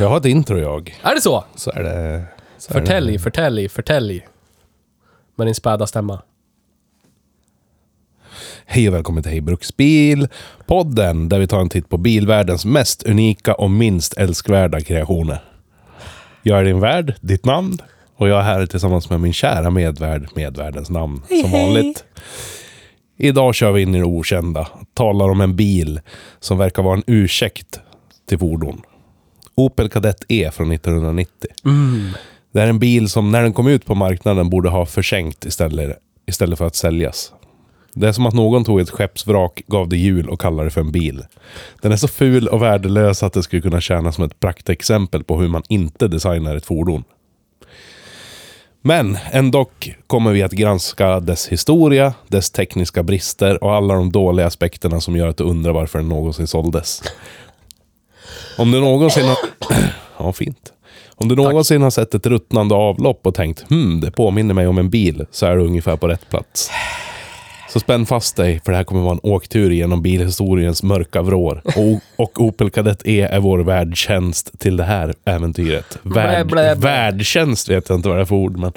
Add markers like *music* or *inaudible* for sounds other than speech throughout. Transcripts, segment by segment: Jag har ett intro jag. Är det så? Så är det... Så Förtälj, förtälj, förtälj. Med din späda stämma. Hej och välkommen till Hej Bruksbil. Podden där vi tar en titt på bilvärldens mest unika och minst älskvärda kreationer. Jag är din värd, ditt namn. Och jag är här tillsammans med min kära medvärd, medvärdens namn. som vanligt. Idag kör vi in i det okända. Talar om en bil som verkar vara en ursäkt till fordon. Opel Kadett E från 1990. Det är en bil som när den kom ut på marknaden borde ha försänkt istället, istället för att säljas. Det är som att någon tog ett skeppsvrak, gav det hjul och kallade det för en bil. Den är så ful och värdelös att det skulle kunna tjäna som ett praktexempel på hur man inte designar ett fordon. Men ändå kommer vi att granska dess historia, dess tekniska brister och alla de dåliga aspekterna som gör att du undrar varför den någonsin såldes. Om du någonsin har... *clears throat* Ja, fint. Om du någonsin har sett ett ruttnande avlopp och tänkt hmm, det påminner mig om en bil, så är du ungefär på rätt plats. Så spänn fast dig, för det här kommer vara en åktur genom bilhistoriens mörka vrår. Och, och Opel Kadett E är vår värdtjänst till det här äventyret. Värd, Blä, blä, blä. Värdtjänst vet jag inte vad det är för ord, men...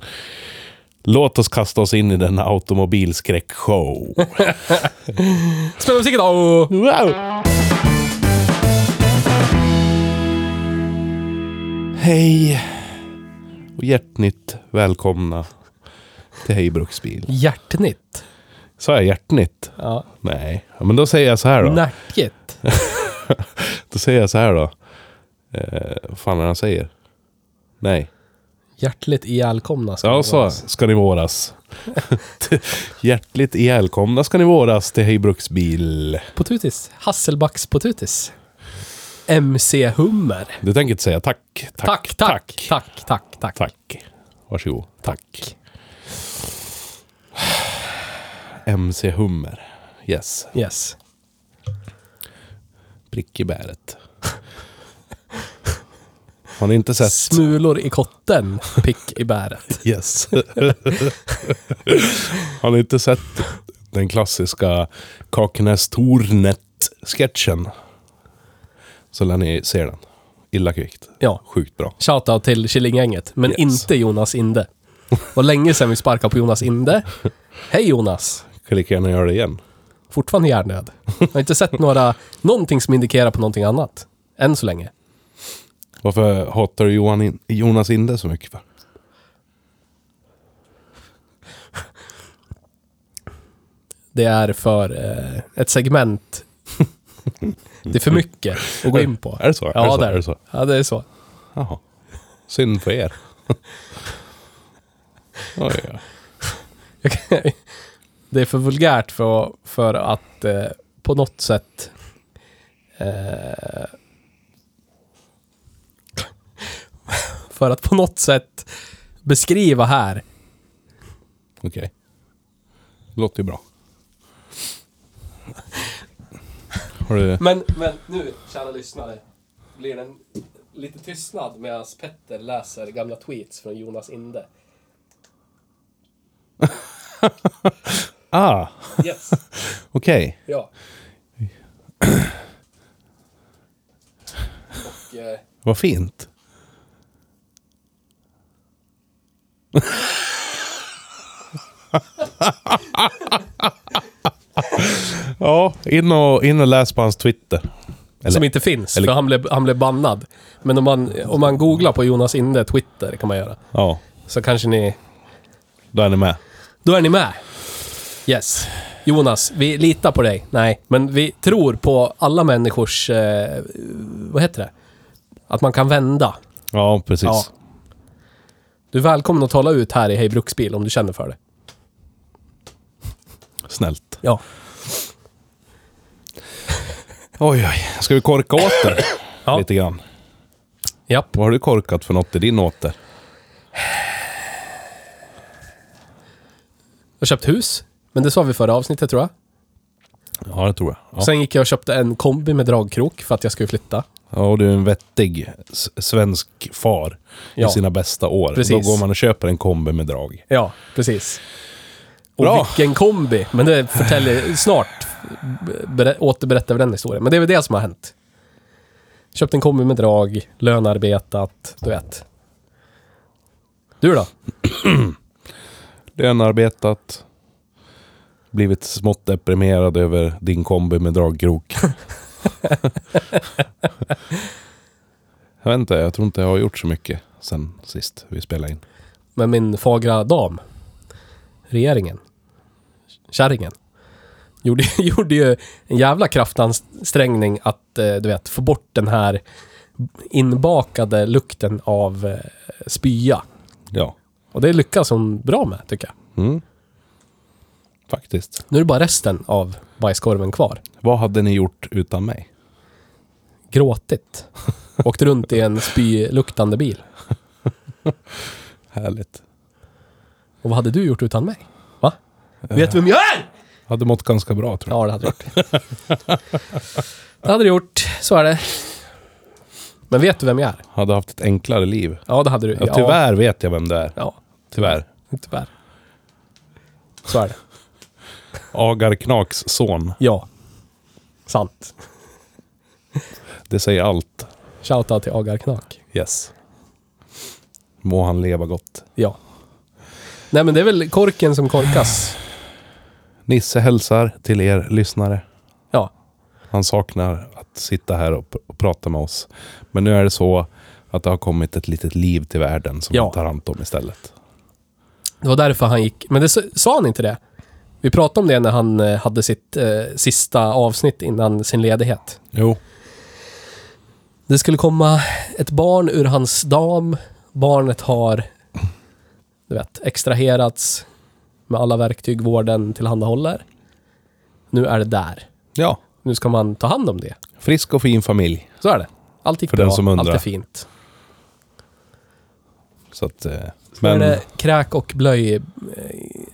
Låt oss kasta oss in i denna automobilskräckshow. Spela musiken då! Wow. Hej och hjärtligt välkomna till Hej Bruksbil. Hjärtnytt. Sa jag hjärtligt? Ja. Nej, ja, men då säger jag så här då. Nacket. Då säger jag så här då. Eh, vad fan är det han säger? Nej. Hjärtligt ihjälkomna. ska Ja, det så vara. ska ni våras. *laughs* hjärtligt välkomna ska ni våras till Hej Bruksbil. Potutis. Hasselbackspotutis. MC-hummer. Du tänker inte säga tack? Tack, tack, tack, tack, tack. Tack. Varsågod. Tack. MC Hummer. Yes. Yes. Prick i bäret. Har ni inte sett? Smulor i kotten. Pick i bäret. Yes. Har ni inte sett den klassiska Kaknästornet-sketchen? Så lär ni se den. Illa kvickt. Ja. Sjukt bra. Shoutout till Killinggänget, men Yes. inte Jonas Inde. Var länge sedan vi sparkade på Jonas Inde. Hej Jonas! Kan lika gärna göra det igen. fortfarande hjärndöd. Jag har inte sett några, någonting som indikerar på någonting annat. Än så länge. Varför hatar du Johan in Jonas Inde så mycket för? Det är för eh, ett segment. Det är för mycket att gå in på. Är det så? Ja, Är det så? det är Är det så? Ja, det är så. Jaha. Synd för *laughs* er. Oj, ja. Jag kan- Det är för vulgärt för, för att eh, på något sätt... Eh, *laughs* för att på något sätt beskriva här. Okej. Låter ju bra. Har du... Men, men nu, kära lyssnare, blir det en lite tystnad medan Petter läser gamla tweets från Jonas Inde. Ah, Yes, okej. ja. Och, eh, Vad fint. *laughs* ja, in och, in och läs på hans Twitter. Eller- som inte finns, eller- för han blev, han blev bannad. Men om man, om man googlar på Jonas Inde, Twitter kan man göra. Ja, Så kanske ni... då är ni med. Då är ni med! Yes. Jonas, vi litar på dig. Nej, men vi tror på alla människors... Eh, vad heter det? Att man kan vända Ja, precis. Ja. Du är välkommen att tala ut här i Hej Bruksbil om du känner för det. Snällt. Ja. Oj, oj. Ska vi korka *coughs* åter Ja. lite grann? Japp. Vad har du korkat för något i din åter? Jag har köpt hus. Men det sa vi förra avsnittet tror jag. Ja, det tror jag. Ja. Sen gick jag och köpte en kombi med dragkrok för att jag skulle flytta. Ja, och du är en vettig s- svensk far Ja. i sina bästa år. Precis. Då går man och köper en kombi med drag. Ja, precis. Och Bra. vilken kombi! Men det *laughs* förtäljer snart. Ber- återberättar vi den historien. Men det är väl det som har hänt. Köpt en kombi med drag, lönarbetat, du vet. Du då? Lönarbetat. Blivit smått deprimerad över din kombi med *laughs* dragkrok. jag vet inte, jag tror inte jag har gjort så mycket sen sist vi spelade in. Med min fagra dam. Regeringen. Kärringen. Gjorde, *laughs* gjorde ju en jävla kraftansträngning att, eh, du vet, få bort den här inbakade lukten av eh, spya. Ja, Och det lyckas hon bra med, tycker jag. mm. faktiskt. Nu är det bara resten av bajskorven kvar. Vad hade ni gjort utan mig? Gråtit. Åkt runt i en spyluktande bil. Härligt. Och vad hade du gjort utan mig? Va? Vet du vem jag är? Hade mått ganska bra tror jag. Ja, det hade du gjort. *laughs* Det hade du gjort. Så är det. Men vet du vem jag är? Hade haft ett enklare liv. Ja, det hade du. Ja, tyvärr vet jag vem det är. Ja, Tyvärr. tyvärr. Så är det. Agar Knaks son. Ja. Sant. Det säger allt. Shoutout till Agar Knak. Yes. Må han leva gott. Ja. Nej, men det är väl korken som korkas. Nisse hälsar till er lyssnare. Ja. Han saknar att sitta här och, pr- och prata med oss. Men nu är det så att det har kommit ett litet liv till världen som Ja. han tar hand om istället. Det var därför han gick. Men det s- sa han inte det? Vi pratade om det när han eh, hade sitt eh, sista avsnitt innan sin ledighet. Jo. Det skulle komma ett barn ur hans dam. Barnet har, du vet, extraherats med alla verktyg vården tillhandahåller. Nu är det där. Ja. Nu ska man ta hand om det. Frisk och fin familj. Så är det. Allt gick För bra. den som undrar. Allt är fint. Så att, eh, Men... Är men det kräk och blöj eh,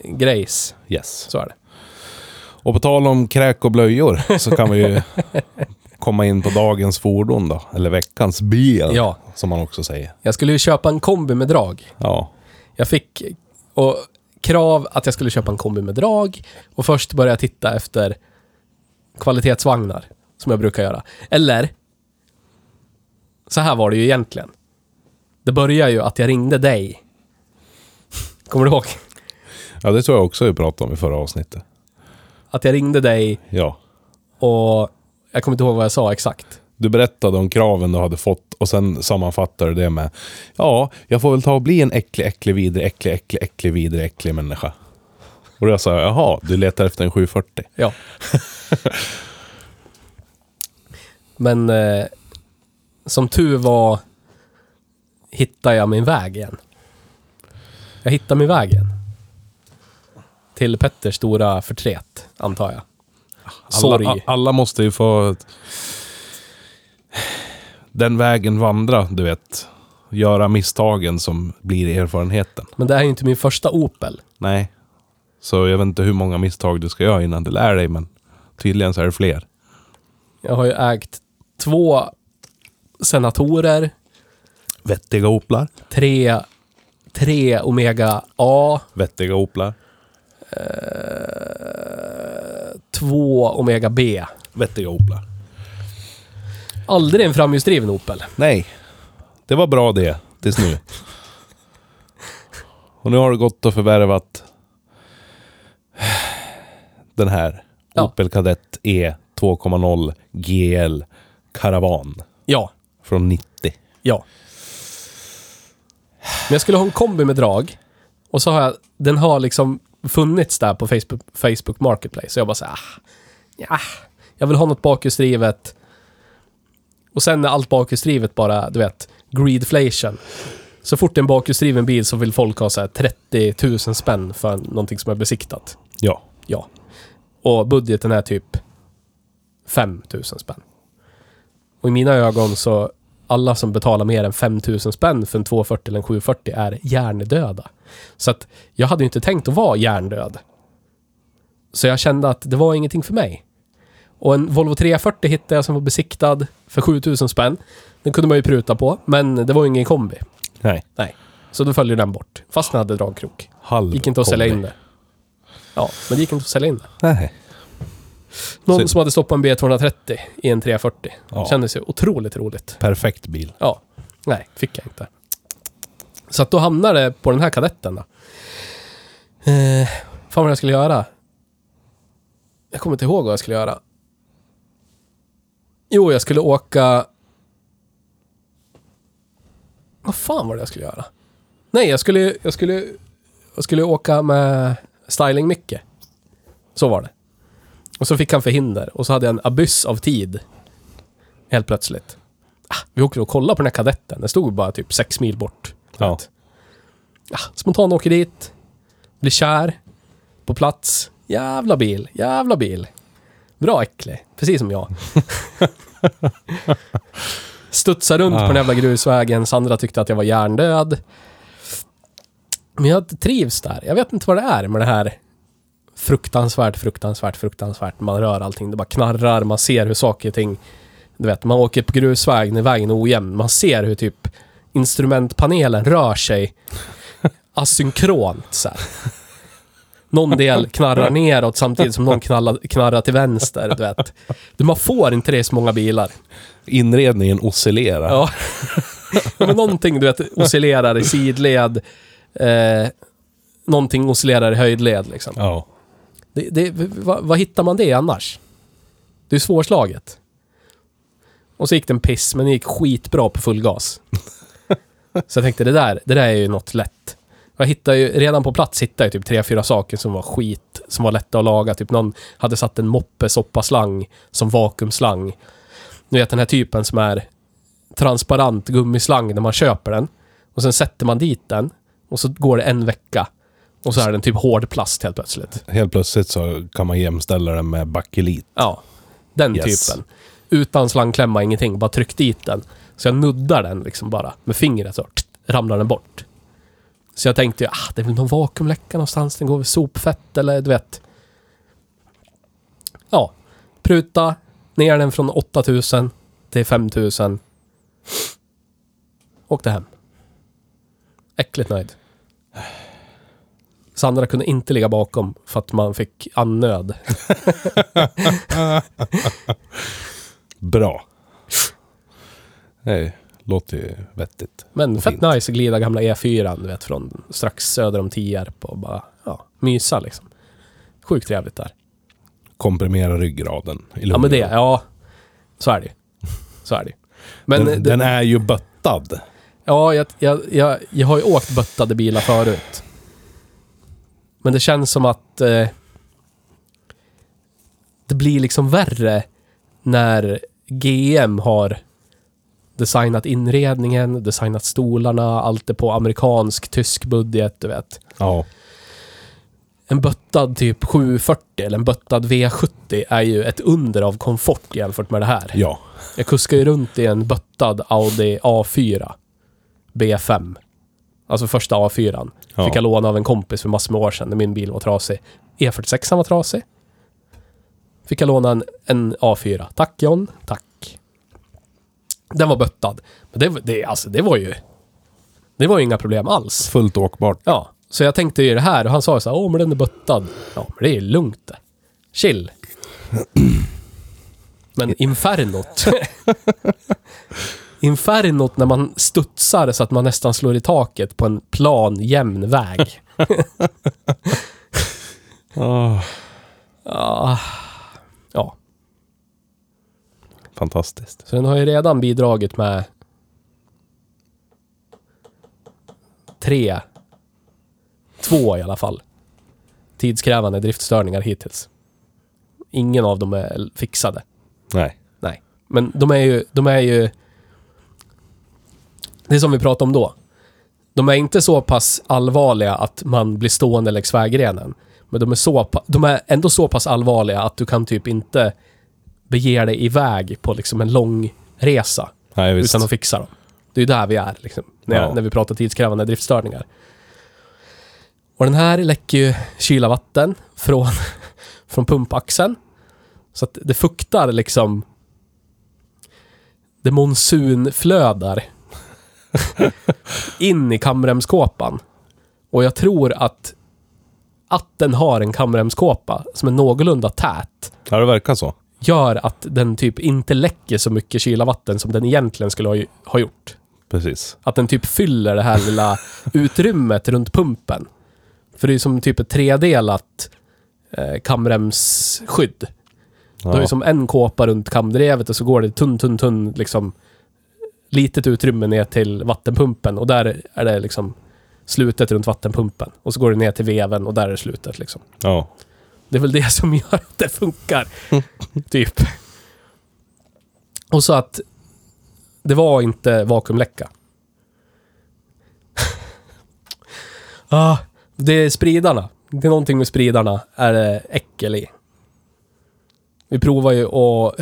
grejs. yes. Så är det. Och på tal om kräk och blöjor så kan vi ju komma in på dagens fordon då. Eller veckans bil. Ja. Som man också säger. Jag skulle ju köpa en kombi med drag. Ja. Jag fick och krav att jag skulle köpa en kombi med drag och först började jag titta efter kvalitetsvagnar som jag brukar göra. Eller, så här var det ju egentligen. Det började ju att jag ringde dig. Kommer du ihåg? Ja, det tror jag också vi pratade om i förra avsnittet. Att jag ringde dig Ja. och jag kommer inte ihåg vad jag sa exakt. Du berättade om kraven du hade fått och sen sammanfattade du det med Ja, jag får väl ta och bli en äcklig, äcklig, vidrig, äcklig, äcklig, äcklig, vidrig, äcklig människa. Och jag sa, jaha, du letar efter en 740. Ja. *laughs* Men eh, som tur var hittade jag min väg igen. Jag hittade min väg igen. Till Petters stora förtret, antar jag. Sorg. Alla, a- alla måste ju få den vägen vandra, du vet. Göra misstagen som blir erfarenheten. Men det här är ju inte min första Opel. Nej. Så jag vet inte hur många misstag du ska göra innan du lär dig, men tydligen så är det fler. Jag har ju ägt två senatorer, Vettiga oplar. tre, tre Omega A, Vettiga oplar. två Omega B. Vettiga oplar. Aldrig en framhjulsdriven Opel. Nej. Det var bra det, tills *laughs* nu. Och nu har du gått och förvärvat den här Ja. Opel Kadett E 2.0 GL Caravan Ja, från 90. Ja. Men jag skulle ha en kombi med drag. Och så har jag, den har liksom funnits där på Facebook, Facebook Marketplace. Så jag bara såhär, ah, ja, jag vill ha något bakhjulsdrivet. Och sen är allt bakhjulsdrivet bara, du vet, Greedflation. Så fort det är en bakhjulsdriven bil så vill folk ha så här 30 000 spänn för någonting som är besiktat. Ja. Ja. Och budgeten är typ 5 000 spänn. Och i mina ögon så, alla som betalar mer än 5 000 spänn för en 240 eller en 740 är hjärndöda. Så att jag hade ju inte tänkt att vara hjärndöd. Så jag kände att det var ingenting för mig. Och en Volvo 340 hittade jag som var besiktad för 7 000 spänn. Den kunde man ju pruta på, men det var ju ingen kombi. Nej. Nej. Så då följde den bort. Fast den hade dragkrok. Halv Gick inte att sälja kombi. in det. Ja, men det gick inte att sälja in det. Nej. Någon Så- som hade stoppat en B230 i en 340. Ja. Kändes ju otroligt roligt. Perfekt bil. Ja. Nej, fick jag inte. Så att då hamnade det på den här kadetten då. Eh, fan vad jag skulle göra. Jag kommer inte ihåg vad jag skulle göra. Jo, jag skulle åka... Vad fan var det jag skulle göra? Nej, jag skulle, jag skulle, jag skulle åka med Styling-Micke. Så var det. Och så fick han förhinder och så hade jag en abyss av tid. Helt plötsligt. Ah, vi åker och kollar på den här kadetten. Den stod bara typ sex mil bort. Ja. Ah, spontan åker dit. Blir kär. På plats. Jävla bil, jävla bil. Bra äcklig. Precis som jag. Studsar runt på den jävla grusvägen. Sandra tyckte att jag var hjärndöd. Men jag trivs där. Jag vet inte vad det är med det här fruktansvärt, fruktansvärt, fruktansvärt. Man rör allting. Det bara knarrar. Man ser hur saker och ting... Du vet, man åker på grusväg när vägen är ojämn. Man ser hur typ instrumentpanelen rör sig asynkront så här. Någon del knarrar neråt samtidigt som någon knallar, knarrar till vänster, du vet. Du, Man får inte det i så många bilar. Inredningen oscillerar. Ja. Men någonting, du vet, oscillerar i sidled. Eh, någonting oscillerar i höjdled, liksom. Ja. Det, det, v- vad, vad hittar man det annars? Det är svårslaget. Och så gick den piss, men den gick skitbra på full gas. Så jag tänkte, det där, det där är ju något lätt. Jag hittade ju, redan på plats hittade jag typ tre, fyra saker som var skit, som var lätta att laga. Typ någon hade satt en moppe-soppaslang som vakuumslang. Ni vet den här typen som är transparent gummislang när man köper den. Och sen sätter man dit den och så går det en vecka. Och så är den typ hård plast helt plötsligt. Helt plötsligt så kan man jämställa den med bakelit. Ja, den Yes. typen. Utan slangklämma, ingenting. Bara tryck dit den. Så jag nuddar den liksom bara med fingret så tsk, ramlar den bort. Så jag tänkte ju, ah, det är väl någon vakuumläcka någonstans. Den går över sopfett eller du vet. Ja, pruta ner den från 8000 till 5000. Åkte hem. Äckligt nöjd. Sandra kunde inte ligga bakom för att man fick annöd. *laughs* Bra. Nej, låter ju vettigt. Men Och fett fint. nice att glida gamla E4, du vet, från strax söder om Tierp och bara ja, mysa liksom. Sjukt trevligt där. Komprimera ryggraden. i Ja, men det, lugn. ja. Så är det ju. Så är det ju. Men den, det, den är ju böttad. ja, jag, jag, jag, jag har ju åkt böttade bilar förut. Men det känns som att eh, det blir liksom värre när GM har designat inredningen, designat stolarna, allt är på amerikansk-tysk budget, du vet. Ja. En böttad typ 740 eller en böttad V70 är ju ett under av komfort jämfört med det här. Ja. Jag kuskar ju runt i en böttad Audi A4 B5. Alltså första A4. Ja. Fick jag låna av en kompis för massor med år sedan när min bil var trasig. E46 var trasig. Fick jag låna en, en A4. Tack John, tack. Den var böttad. Men det, det, alltså, det var ju... Det var ju inga problem alls. Fullt åkbart. Ja, så jag tänkte ju det här och han sa ju så här, åh men den är böttad. Ja, men det är lugnt det. Chill. *clears throat* Men infernot. *laughs* infernot när man studsar så att man nästan slår i taket på en plan, jämn väg. Ah, Ah. Ja, fantastiskt. så den har ju redan bidragit med tre, två i alla fall, tidskrävande driftstörningar hittills. Ingen av dem är fixade. Nej. Nej. Men de är ju, de är ju... Det är som vi pratade om då. De är inte så pass allvarliga att man blir stående längs vägrenen. Men de är, så pa- de är ändå så pass allvarliga att du kan typ inte bege dig iväg på liksom en lång resa Nej, visst. utan att fixa dem. Det är ju där vi är, liksom, när, Ja. när vi pratar tidskrävande driftstörningar. Och den här läcker ju kylavatten från, *laughs* från pumpaxeln. Så att det fuktar liksom... Det monsunflödar *laughs* in i kamremskåpan. Och jag tror att att den har en kamremskåpa som är någorlunda tät Ja, det verkar så. gör att den typ inte läcker så mycket kylavatten som den egentligen skulle ha, ha gjort. Precis. Att den typ fyller det här lilla utrymmet runt pumpen. För det är ju som typ ett tredelat eh, kamremsskydd. Du har Ja. ju som en kåpa runt kamdrevet och så går det tunn, tunn, tunn liksom litet utrymme ner till vattenpumpen och där är det liksom slutet runt vattenpumpen. Och så går det ner till veven och där är slutet liksom. ja. Det är väl det som gör att det funkar. typ. Och så att det var inte vakuumläcka. *laughs* ah, det är spridarna. Det är någonting med spridarna är det äckel i. Vi provar ju att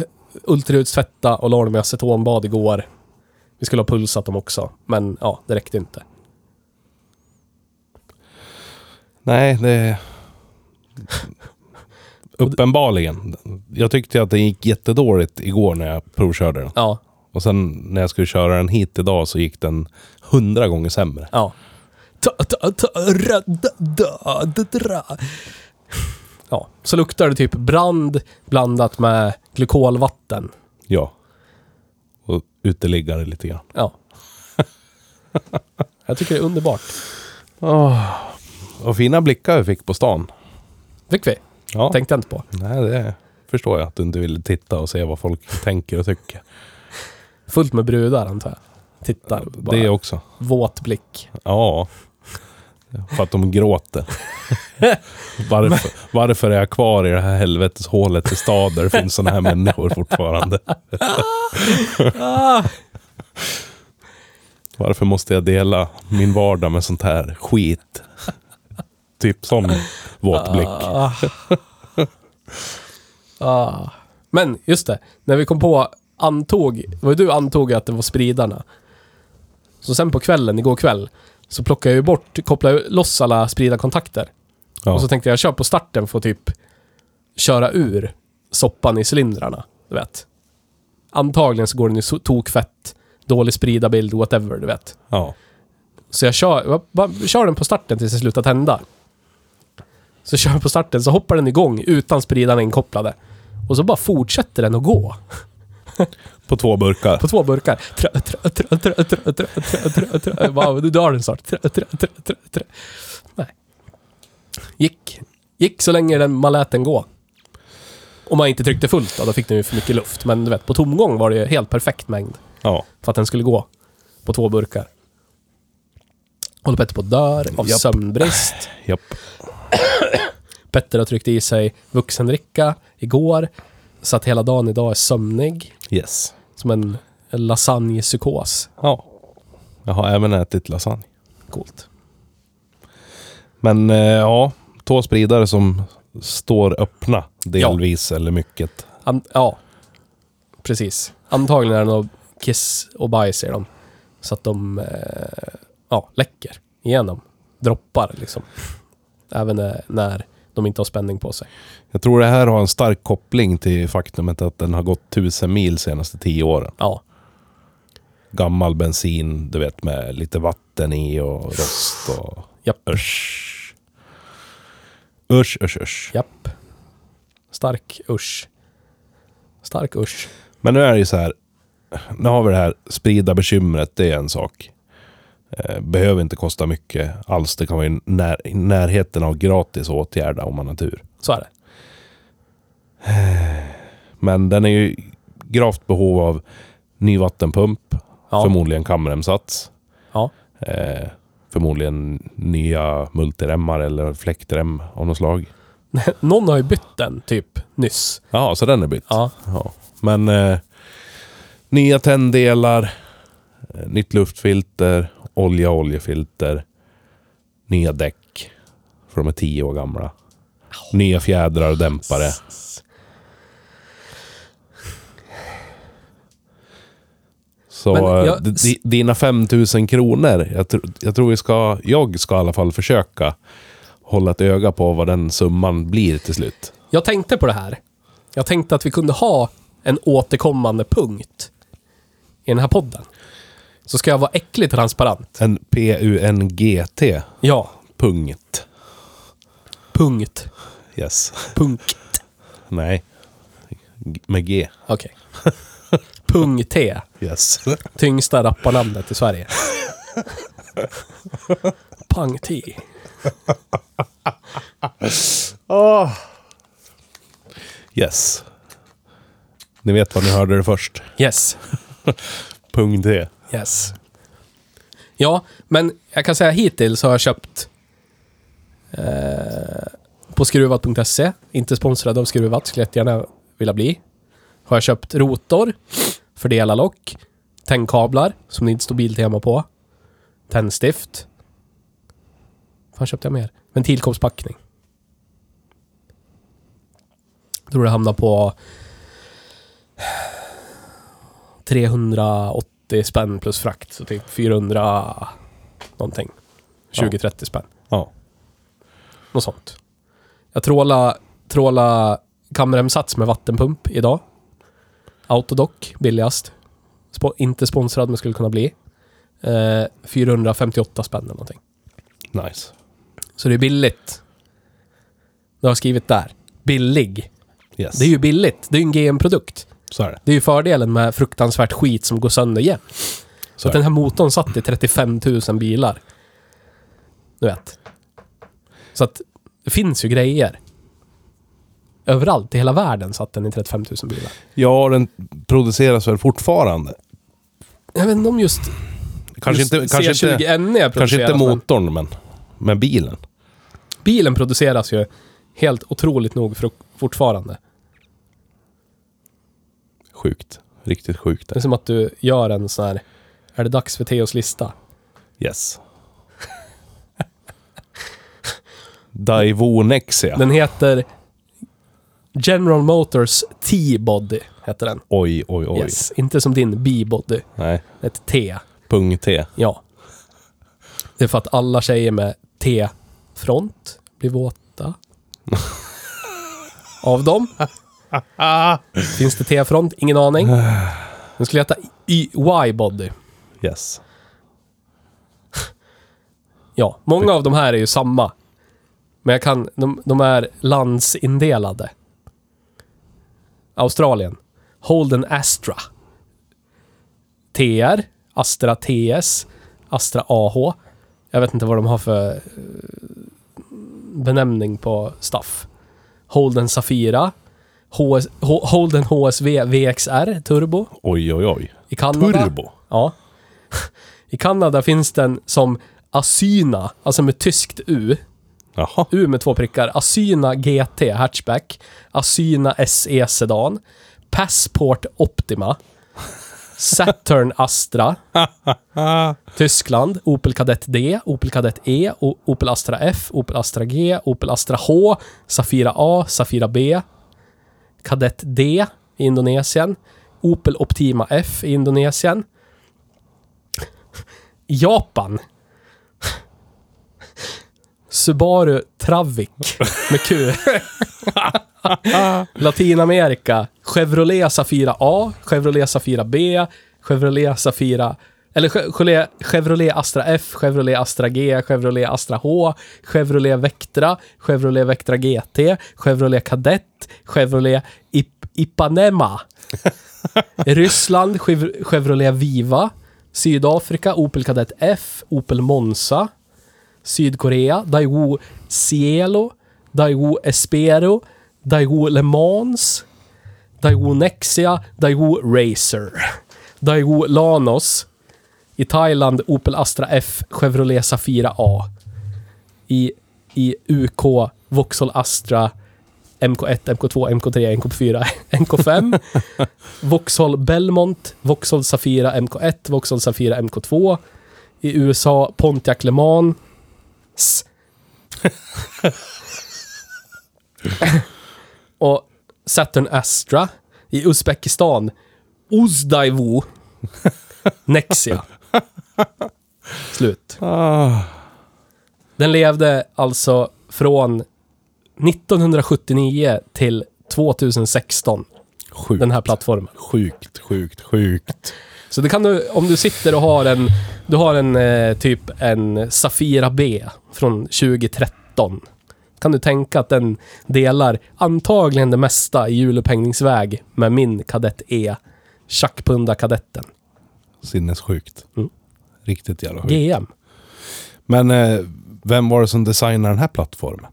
ultraljudstvätta och la dem i acetonbad igår. Vi skulle ha pulsat dem också, men ja, det räckte inte. Nej, det... Uppenbarligen. Jag tyckte att det gick jättedåligt igår när jag provkörde den. Ja, Och sen när jag skulle köra den hit idag så gick den hundra gånger sämre. Ja. Ta, ta, ta, ra, da, da, da, dra. Ja, så luktar det typ brand blandat med glykolvatten. Ja. Och uteliggare lite grann. Ja. *laughs* Jag tycker det är underbart. Ah. Och fina blickar vi fick på stan. Fick vi? Ja. Tänkte jag inte på. Nej, det förstår jag att du inte ville titta och se vad folk tänker och tycker. Fullt med brudar antar jag. Tittar bara. Det också. Våt blick. Ja. För att de gråter. Varför, varför är jag kvar i det här helveteshålet i staden där det finns sådana här människor fortfarande? Varför måste jag dela min vardag med sånt här skit? Typ sån våtblick. Ah. *laughs* Ah. Men just det, när vi kom på, antog, vad du antog att det var spridarna. Så sen på kvällen, igår kväll, så plockade jag ju bort, kopplade loss alla spridarkontakter. Och Ja. så tänkte jag, kör på starten för att typ köra ur soppan i cylindrarna. Du vet. Antagligen så går den ju so- tokfett, dålig spridarbild, whatever, du vet. ja. Så jag kör, jag bara, kör den på starten tills det slutar tända. Så kör jag på starten, så hoppar den igång utan spridarna inkopplade. Och så bara fortsätter den att gå. På två burkar. På två burkar. Trö, trö, trö, trö, trö, trö, trö, trö, trö. Jag bara, Du dör den snart. Trö, trö, trö, trö, trö. Nej. Gick. Gick så länge den, man lät den gå. Om man inte tryckte fullt då, då fick den ju för mycket luft. Men du vet, på tomgång var det ju helt perfekt mängd Ja. för att den skulle gå på två burkar. Håller Petter på att dör av Japp. sömnbrist. Japp. Petter har tryckt i sig vuxendricka igår. Så att hela dagen idag är sömnig. Yes. Som en en lasagnepsykos. Ja. Jag har även ätit lasagne. Coolt. Men eh, ja, två spridare som står öppna delvis eller mycket. An- ja, precis. Antagligen är det nog kiss och bajs i dem. Så att de eh, ja, läcker igenom. Droppar liksom. Även eh, när de inte har spänning på sig. Jag tror det här har en stark koppling till faktumet att den har gått tusen mil senaste tio åren. Ja, Gammal bensin, du vet med lite vatten i och rost och japp, usch. Usch, usch, usch. japp. Stark usch. Stark usch. Men nu är det ju så här. Nu har vi det här sprida bekymret, det är en sak. Eh, Behöver inte kosta mycket alls. Det kan vara i, när, i närheten av gratis att åtgärda om man har tur. Så är det. Men den är ju gravt behov av ny vattenpump, Ja. förmodligen kamremsats, Ja, *laughs* eh, förmodligen nya multiremmar eller fläktrem av något slag. Någon har ju bytt den typ nyss. Ja, så den är bytt. Ja. Ja. Men eh, nya tänddelar, eh, nytt luftfilter, olja och oljefilter, nya däck, för de är tio år gamla. Nya fjädrar och dämpare. Så Men jag- eh, di- di- dina 5000 kronor, jag, tr- jag tror vi ska, jag ska i alla fall försöka hålla ett öga på vad den summan blir till slut. Jag tänkte på det här. Jag tänkte att vi kunde ha en återkommande punkt i den här podden. Så ska jag vara äckligt transparent. En PUNGT, Ja, punkt. punkt. Yes. *laughs* Punkt. Nej. G- Med G. Okej. Pung-T. *laughs* Yes. Tyngsta rapparnamnet i Sverige. Pang-T. Ah. Yes. Ni vet vad ni hörde det först. Yes. Punkt E. D. Yes. Ja, men jag kan säga hittills har jag köpt eh, på skruvat.se. Inte sponsrad av Skruvat, skulle jag gärna vilja bli. Har jag köpt rotor, fördelarlock, tändkablar som det inte står Biltema på, tändstift. Vad köpte jag mer? Ventilkåpspackning. Tror det hamnar på 380 spänn plus frakt. Så typ 400 någonting. 20-30 spänn. Ja. Något sånt. Jag tråla, tråla kamremsats med vattenpump idag. Autodoc, billigast. Spo- inte sponsrad, men skulle kunna bli. Eh, 458 spänn eller någonting. Nice. Så det är billigt. Det har jag skrivit där. Billig. Yes. Det är ju billigt. Det är ju en GM-produkt. Så är det. Det är ju fördelen med fruktansvärt skit som går sönder igen. Så Så att är den det. här motorn satt i 35 000 bilar. Du vet. Så att det finns ju grejer. Överallt i hela världen satt den i 35 000 bilar. Ja, den produceras väl fortfarande. Jag vet inte om just, Kanske just inte, kanske C20 inte, NE E är kanske inte producerad, men motorn, men, men bilen. Bilen produceras ju helt otroligt nog fru- fortfarande. Sjukt. Riktigt sjukt. Det är som att du gör en sån här... Är det dags för Theos lista? Yes. Daivo Nexia. Den heter... General Motors T-body heter den. Oj, oj, oj. Yes. Inte som din B-body. Nej. Ett T. Punkt T. Ja. Det är för att alla tjejer med T-front blir våta. Av dem. Finns det T-front? Ingen aning. Den skulle heta Y-body. Yes. Ja, många av de här är ju samma. Men jag kan, de, de är landsindelade. Australien. Holden Astra. TR. Astra TS. Astra AH. Jag vet inte vad de har för eh, benämning på staff. Holden Safira. HS, H, Holden HSV VXR Turbo Oj, oj, oj. i Kanada. Turbo. Ja. *laughs* I Kanada finns den som Asyna, alltså med tyskt U. Jaha. U med två prickar. Asyna GT Hatchback. Asyna SE Sedan. Passport Optima. Saturn Astra. Tyskland. Opel Kadett D. Opel Kadett E. O- Opel Astra F. Opel Astra G. Opel Astra H. Safira A. Safira B. Kadett D i Indonesien. Opel Optima F i Indonesien. Japan. Subaru Travic med Q. Latinamerika. Chevrolet Safira A, Chevrolet Safira B, Chevrolet Safira... Eller Che- Chevrolet- Chevrolet Astra F, Chevrolet Astra G, Chevrolet Astra H, Chevrolet Vectra, Chevrolet Vectra GT, Chevrolet Kadett, Chevrolet Ip- Ipanema. Ryssland, Chev- Chevrolet Viva. Sydafrika, Opel Kadett F, Opel Monza. Sydkorea, Daewoo Cielo, Daewoo Espero, Daewoo Le Mans, Daewoo Nexia, Daewoo Racer, *laughs* Daewoo Lanos. I Thailand Opel Astra F, Chevrolet Safira A. I, i UK Vauxhall Astra MK1, MK2, MK3, *laughs* MK4, MK5. Vauxhall Belmont, Vauxhall Safira MK1, Vauxhall Safira MK2. I USA Pontiac Le Mans. S. *laughs* Och Saturn Astra. I Uzbekistan Uzdaivo Nexia. Slut. Ah, Den levde alltså från 1979 till 2016, sjukt, den här plattformen. sjukt, sjukt, sjukt. Så det kan du, om du sitter och har en, du har en eh, typ en Safira B från 2013. Kan du tänka att den delar antagligen det mesta i hjulupphängningsväg med min kadett E, Tjackpunda-kadetten. Sinnessjukt. Mm. Riktigt jävla sjukt. GM. Men eh, vem var det som designade den här plattformen?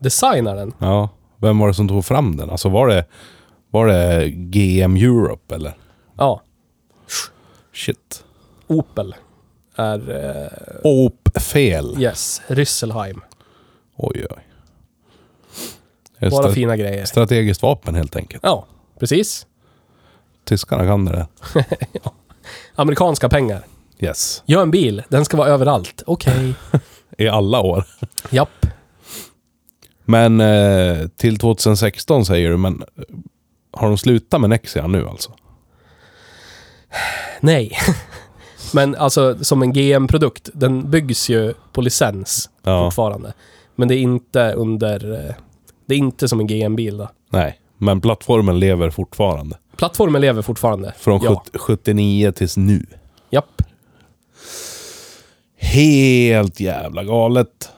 Designar den? Ja, vem var det som tog fram den? Alltså var det, var det GM Europe eller? Ja. Shit. Opel är... Eh, Opfel. yes, Rüsselheim. Oj, oj. Ett Bara stra- fina grejer. strategiskt vapen helt enkelt. Ja, precis. Tyskarna kan det där. Amerikanska pengar. Yes. Gör en bil, den ska vara överallt. Okej. I alla år. Japp. Men eh, till 2016 säger du, men eh, har de slutat med Nexia nu alltså? Nej. *laughs* Men alltså, som en GM-produkt, den byggs ju på licens Ja. fortfarande. Men det är inte under... eh, Det är inte som en GM-bil då. Nej, men plattformen lever fortfarande. Plattformen lever fortfarande. Från ja. 70 79 tills nu. Japp. Helt jävla galet.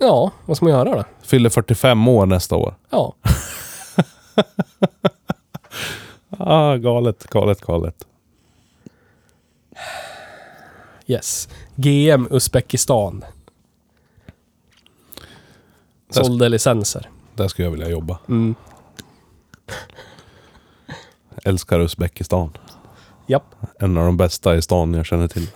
Ja, vad ska man göra då? Fyller 45 år nästa år. Ja. Ah, galet, galet, galet. Yes. GM Uzbekistan. ska- Sålde licenser. Där skulle jag vilja jobba. Mm. Älskar Uzbekistan. Japp. En av de bästa i stan jag känner till.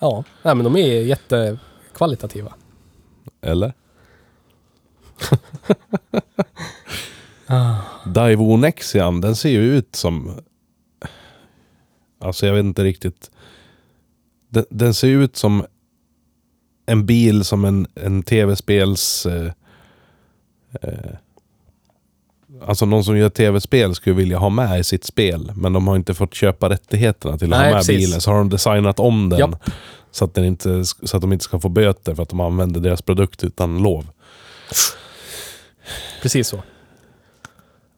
Ja. Nej, men de är jättekvalitativa. Eller? Daivo Nexian, den ser ju ut som... Alltså jag vet inte riktigt. Den, den ser ju ut som en bil som en, en tv-spels... Eh, eh, alltså någon som gör tv-spel skulle vilja ha med i sitt spel. Men de har inte fått köpa rättigheterna till att Nej, ha med precis. bilen. Så har de designat om den. Japp. Så att, den inte, så att de inte ska få böter för att de använder deras produkt utan lov. Precis så.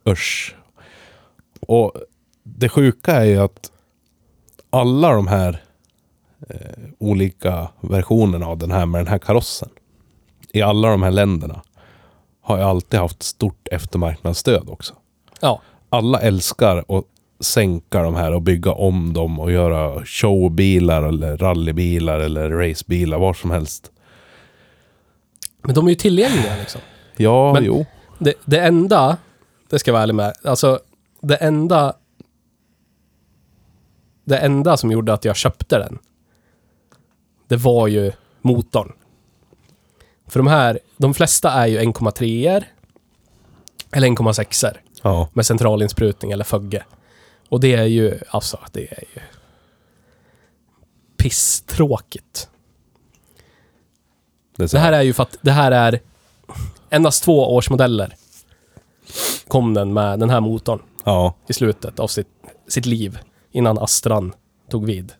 Usch. Och det sjuka är ju att alla de här eh, olika versionerna av den här med den här karossen i alla de här länderna har ju alltid haft stort eftermarknadsstöd också. Ja. Alla älskar att sänka de här och bygga om dem och göra showbilar eller rallybilar eller racebilar, var som helst. Men de är ju tillgängliga liksom. Ja, Men- jo. Det, det enda, det ska jag vara ärlig med, alltså det enda... Det enda som gjorde att jag köpte den, det var ju motorn. För de här, de flesta är ju 1,3 eller 1,6 Ja. med centralinsprutning eller fögge. Och det är ju, alltså det är ju pisstråkigt. Det är så Det här. här är ju för att det här är endast två års modeller. Kom den med den här motorn Ja. i slutet av sitt, sitt liv innan Astran tog vid.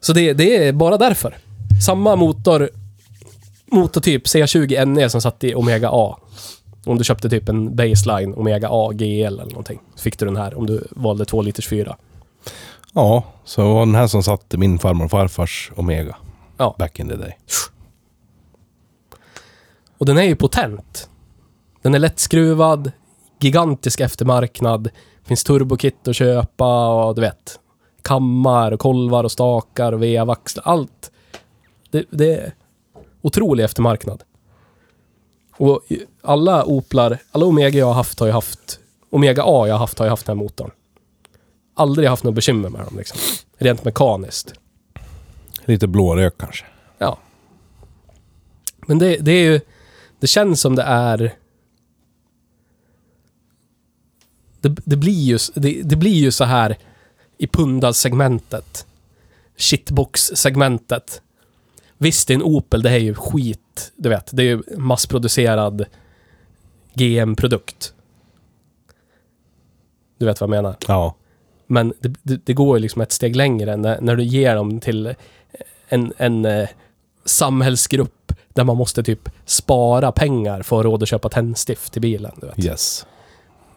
Så det, det är bara därför. Samma motor, motortyp C20 NE E som satt i Omega A. Om du köpte typ en baseline Omega A GL eller någonting. Så fick du den här om du valde 2 liters 4. Ja, så det var den här som satt i min farmor och farfars Omega. Ja. Back in the day. Och den är ju potent. Den är lättskruvad, gigantisk eftermarknad, finns turbokit att köpa och du vet. Kammar, och kolvar och stakar och vevaxlar, allt. Det, det är otrolig eftermarknad. Och i- alla Oplar, alla Omega jag har haft har ju haft, Omega A jag har haft har ju haft den här motorn. Aldrig haft något bekymmer med dem liksom. Rent mekaniskt. Lite blårök kanske. Ja. Men det, det är ju... Det känns som det är... Det, det, blir, ju, s- det, det blir ju så här i pundalsegmentet. Shitbox-segmentet. Visst, det är en Opel. Det här är ju skit. Du vet, det är ju massproducerad GM-produkt. Du vet vad jag menar. Ja. Men det, det, det går ju liksom ett steg längre när, när du ger dem till eh, en, en eh, samhällsgrupp där man måste typ spara pengar för att ha råd att köpa tändstift till bilen. Du vet. Yes.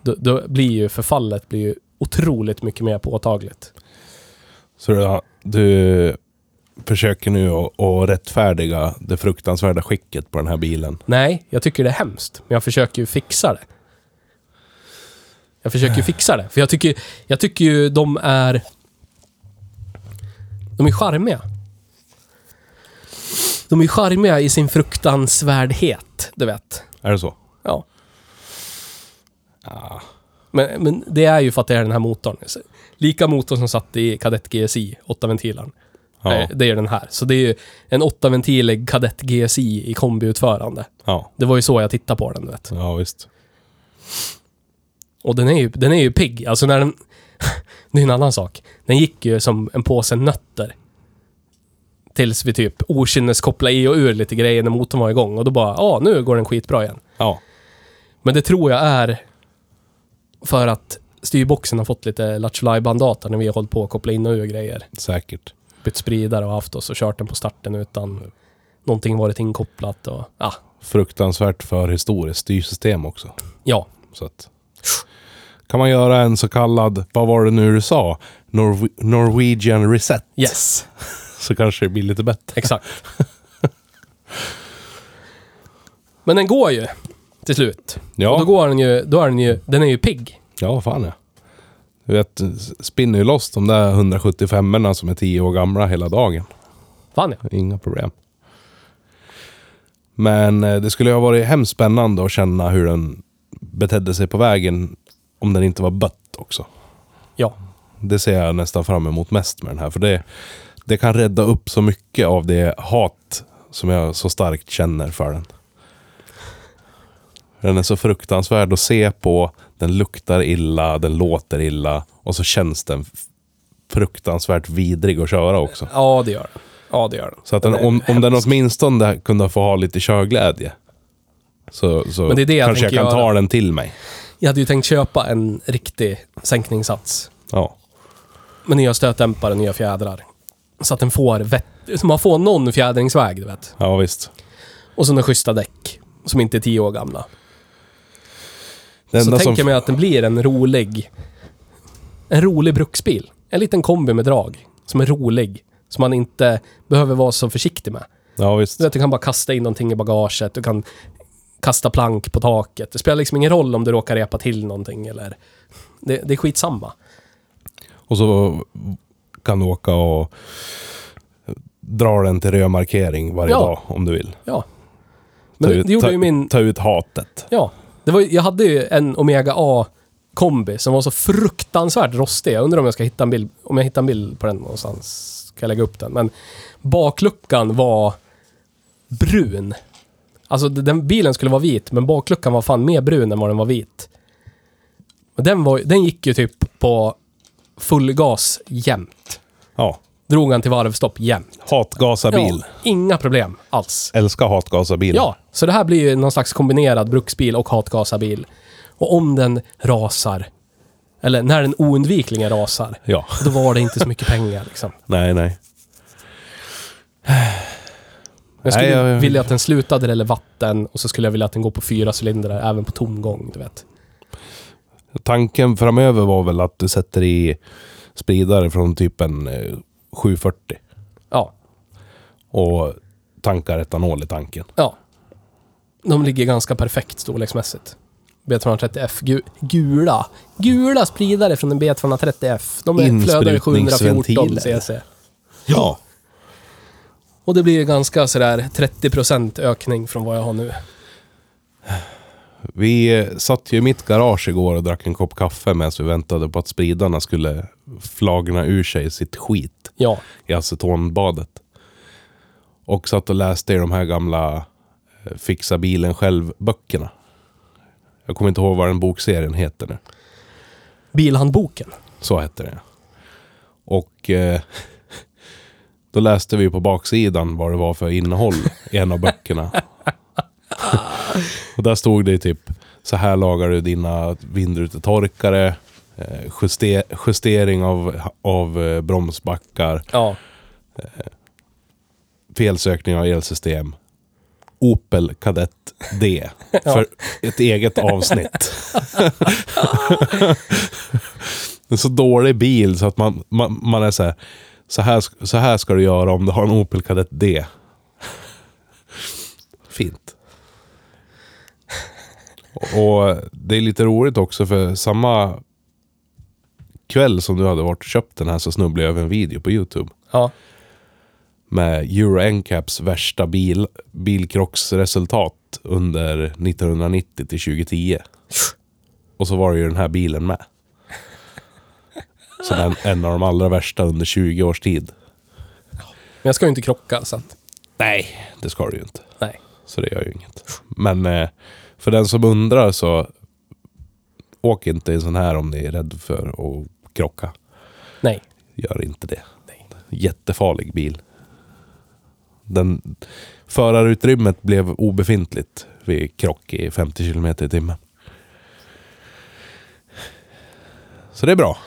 Då, då blir ju förfallet blir ju otroligt mycket mer påtagligt. Så du, du försöker nu att, att rättfärdiga det fruktansvärda skicket på den här bilen. Nej, jag tycker det är hemskt, men jag försöker ju fixa det. Jag försöker ju fixa det, för jag tycker, jag tycker ju de är... De är charmiga. De är charmiga i sin fruktansvärdhet, du vet. Är det så? Ja. Men, men det är ju för att det är den här motorn. Lika motor som satt i Kadett GSI, 8-ventilaren. Ja. Eh, Det är den här. Så det är ju en 8-ventilig Kadett GSI i kombiutförande. Ja. Det var ju så jag tittade på den, du vet. Ja, visst. Och den är ju, den är ju pigg. Alltså när den... *laughs* det är en annan sak. Den gick ju som en påse nötter. Tills vi typ okynnes kopplade i och ur lite grejer när motorn var igång. Och då bara, ja nu går den skitbra igen. Ja. Men det tror jag är för att styrboxen har fått lite lattjo bandata när vi har hållit på att koppla in och ur grejer. Säkert. Bytt spridare och haft oss och kört den på starten utan någonting varit inkopplat och... Ja. Fruktansvärt förhistoriskt styrsystem också. ja. Så att, kan man göra en så kallad, vad var det nu du sa? Norv Norwegian reset. Yes. *laughs* Så kanske det blir lite bättre. Exakt. Men den går ju till slut. Och då Ja, går den ju, då är den ju, den är ju pigg. ja vad fan ja. Du vet, spinner ju loss de där 175 erna som är 10 år gamla hela dagen. Fan ja. Inga problem. Men eh, det skulle ju ha varit hemskt spännande att känna hur den betedde sig på vägen om den inte var bött också. Ja. Det ser jag nästan fram emot mest med den här. För det, det kan rädda upp så mycket av det hat som jag så starkt känner för den. Den är så fruktansvärd att se på. Den luktar illa, den låter illa och så känns den f- fruktansvärt vidrig att köra också. Ja, det gör den. Ja, det gör den. Så att den, är om, om den hemsk. åtminstone kunde få ha lite körglädje. Så, så Men det är det jag kanske jag tänker kan ta göra. den till mig. Jag hade ju tänkt köpa en riktig sänkningssats. Ja. Med nya stötdämpare, nya fjädrar. Så att den får vett... Så man får någon fjädringsväg, du vet. ja, visst. Och så några schyssta däck. Som inte är tio år gamla. Det så enda tänker jag som, mig att den blir en rolig... En rolig bruksbil. En liten kombi med drag. Som är rolig. Som man inte behöver vara så försiktig med. ja, visst. Du vet, du kan bara kasta in någonting i bagaget. Du kan kasta plank på taket. Det spelar liksom ingen roll om du råkar repa till någonting eller... Det, det är skitsamma. Och så kan du åka och dra den till röd markering varje Ja. dag om du vill. Ja. Men ta det, ut, det gjorde ta, ju min... ta ut hatet. Ja. Det var, ju- jag hade ju en Omega A-kombi som var så fruktansvärt rostig. Jag undrar om jag ska hitta en bild, om jag hittar en bild på den någonstans. Ska jag lägga upp den? Men bakluckan var brun. Alltså d- den bilen skulle vara vit, men bakluckan var fan mer brun än vad den var vit. Och Den, var, ju- den gick ju typ på full gas jämt. Ja. Drog han till varvstopp jämt. Hatgasa bil. Ja, inga problem alls. Älskar hatgasa bil. Ja, så det här blir ju någon slags kombinerad bruksbil och hatgasarbil. Och om den rasar, eller när den oundvikligen rasar, Ja. då var det inte så mycket pengar liksom. Nej, nej. Jag skulle Nej, jag- vilja att den slutade eller vatten och så skulle jag vilja att den går på fyra cylindrar även på tomgång, du vet. Tanken framöver var väl att du sätter i spridare från typ en eh, 740 Ja, och tankar etanol i tanken. ja. De ligger ganska perfekt storleksmässigt. B230F, gu, gula. Gula spridare från en B230F. De är flödar i 714 Insprutningsventiler. cc. Ja. Och det blir ju ganska sådär 30% ökning från vad jag har nu. Vi eh, satt ju i mitt garage igår och drack en kopp kaffe medan vi väntade på att spridarna skulle flagna ur sig sitt skit. Ja, i acetonbadet. Och satt och läste i de här gamla eh, Fixa bilen själv-böckerna. Jag kommer inte ihåg vad den bokserien heter nu. Bilhandboken. Så hette det. Och eh, *laughs* då läste vi på baksidan vad det var för innehåll i en av böckerna. och där stod det typ, så här lagar du dina vindrutetorkare, eh, juste- justering av, av eh, bromsbackar, Ja. felsökning av elsystem. Opel Kadett D. Ja. För ett eget avsnitt. en så dålig bil så att man, man, man är så här, så här. sk- Så här ska du göra om du har en Opel Kadett D. Fint. Och det är lite roligt också för samma kväll som du hade varit och köpt den här så snubblade jag över en video på YouTube Ja. med Euro NCAPs värsta bil, bilkrocksresultat under 1990 till 2010. Och så var det ju den här bilen med. Så den, en av de allra värsta under 20 års tid. Men jag ska ju inte krocka, så att... Nej, det ska du ju inte. Nej. Så det gör ju inget. Men eh, för den som undrar så åk inte i en sån här om ni är rädd för att krocka. Nej. Gör inte det. Nej. Jättefarlig bil. Den, förarutrymmet blev obefintligt vid krock i 50 km i timmen. Så det är bra.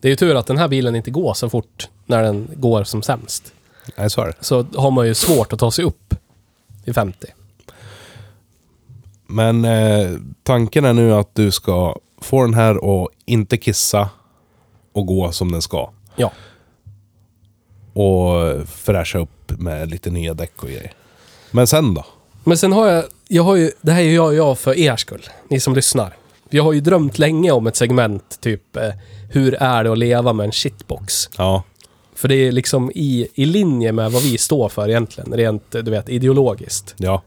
Det är ju tur att den här bilen inte går så fort när den går som sämst. Nej, så är det. Så har man ju svårt att ta sig upp i 50. Men eh, tanken är nu att du ska få den här och inte kissa och gå som den ska. Ja. Och fräscha upp med lite nya däck och grejer. Men sen då? Men sen har jag, jag har ju, det här gör jag, jag för er skull, ni som lyssnar. Jag har ju drömt länge om ett segment, typ eh, hur är det att leva med en shitbox? Ja. För det är liksom i, i linje med vad vi står för egentligen, rent eh, du vet, ideologiskt. Ja.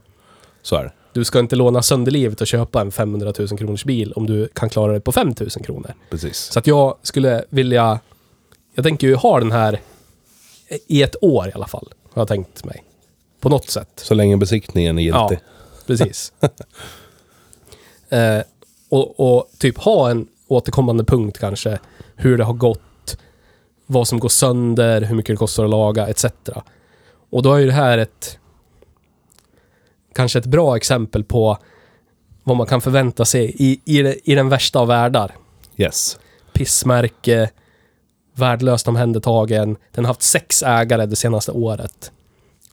Så är det. Du ska inte låna sönder livet och köpa en 500 000 kronors bil om du kan klara det på 5 000 kronor. Precis. Så att jag skulle vilja... Jag tänker ju ha den här i ett år i alla fall, har jag tänkt mig. På något sätt. Så länge besiktningen är giltig. precis. *laughs* eh, och, och typ ha en återkommande punkt kanske, hur det har gått, vad som går sönder, hur mycket det kostar att laga, etc. Och då är ju det här ett kanske ett bra exempel på vad man kan förvänta sig i, i, det- i den värsta av världar Yes. pissmärke, värdelöst omhändertagen. Den har haft sex ägare det senaste året.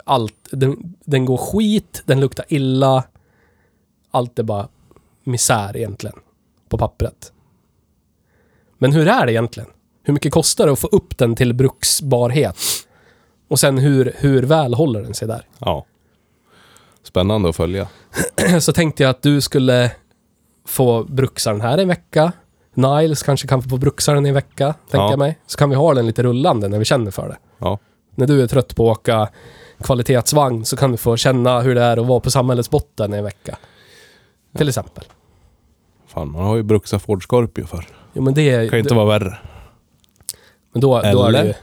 Allt, den, den går skit, den luktar illa. Allt är bara misär egentligen, på pappret. Men hur är det egentligen? Hur mycket kostar det att få upp den till bruksbarhet? Och sen hur, hur väl håller den sig där? Ja. Spännande att följa. så tänkte jag att du skulle få bruxa den här en vecka. Niles kanske kan få bruxa den i en vecka, tänker Ja. jag mig. Så kan vi ha den lite rullande när vi känner för det. Ja. När du är trött på att åka kvalitetsvagn så kan du få känna hur det är att vara på samhällets botten i en vecka. Till exempel. Fan, man har ju bruksat Ford Scorpio för. Jo, men det är, kan ju inte vara värre. men då, då är Eller? du ju,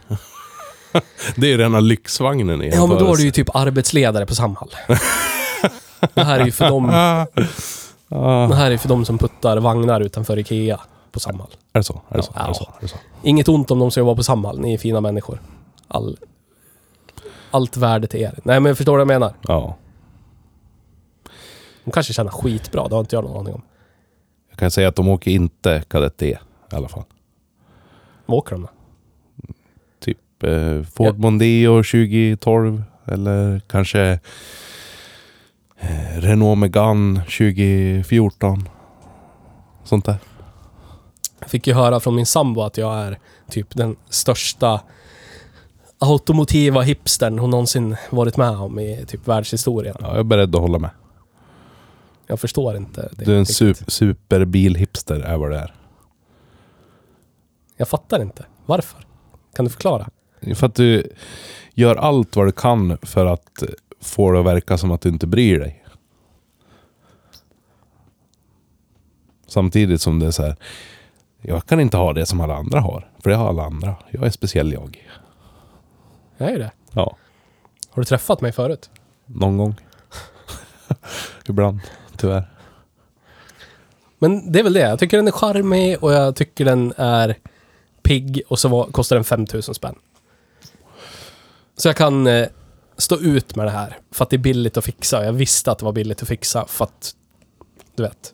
Det är ju rena lyxvagnen i Ja, men då är jämförelse. du ju typ arbetsledare *laughs* på Samhall. det här är ju för dem, det här är ju för dem som puttar vagnar utanför Ikea på Samhall. Är det så? Är det så? Ja. Är det så? Är det så? Inget ont om de som jobbar på Samhall, ni är fina människor. All, allt värde till er. Nej men förstår du vad jag menar? Ja. De kanske tjänar skitbra, det har inte jag någon aning om. Jag kan säga att de åker inte Kadett E i alla fall. Vad åker de då? Typ eh, Ford Ja. Mondeo 2012 eller kanske eh, Renault Megane 2014. Sånt där. Jag fick ju höra från min sambo att jag är typ den största automotiva hipstern hon någonsin varit med om i typ världshistorien. Ja, jag är beredd att hålla med. Jag förstår inte det. Du är en riktigt. sup- superbilhipster är vad det är. Jag fattar inte. Varför? Kan du förklara? För att du gör allt vad du kan för att få det att verka som att du inte bryr dig. Samtidigt som det är så här. Jag kan inte ha det som alla andra har. För det har alla andra. Jag är speciell jag. Jag är ju det. Ja, Har du träffat mig förut? någon gång. *laughs* Ibland, tyvärr. Men det är väl det. Jag tycker den är charmig och jag tycker den är pigg och så var, kostar den 5000 spänn. Så jag kan eh, stå ut med det här för att det är billigt att fixa. Jag visste att det var billigt att fixa för att, du vet,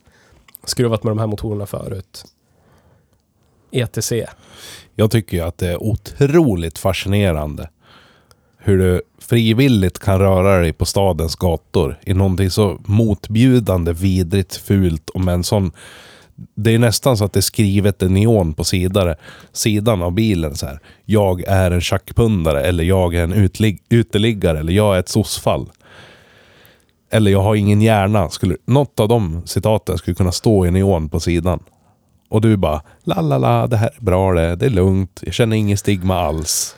skruvat med de här motorerna förut. E ETC. Jag tycker ju att det är otroligt fascinerande hur du frivilligt kan röra dig på stadens gator i någonting så motbjudande, vidrigt, fult och med en sån... Det är nästan så att det är skrivet en neon på sidare, sidan av bilen så här. Jag är en tjackpundare eller jag är en utlig, uteliggare eller jag är ett sossfall. Eller jag har ingen hjärna. Skulle, något av de citaten skulle kunna stå i neon på sidan. Och du bara, la la la, det här är bra det, det är lugnt, jag känner ingen stigma alls.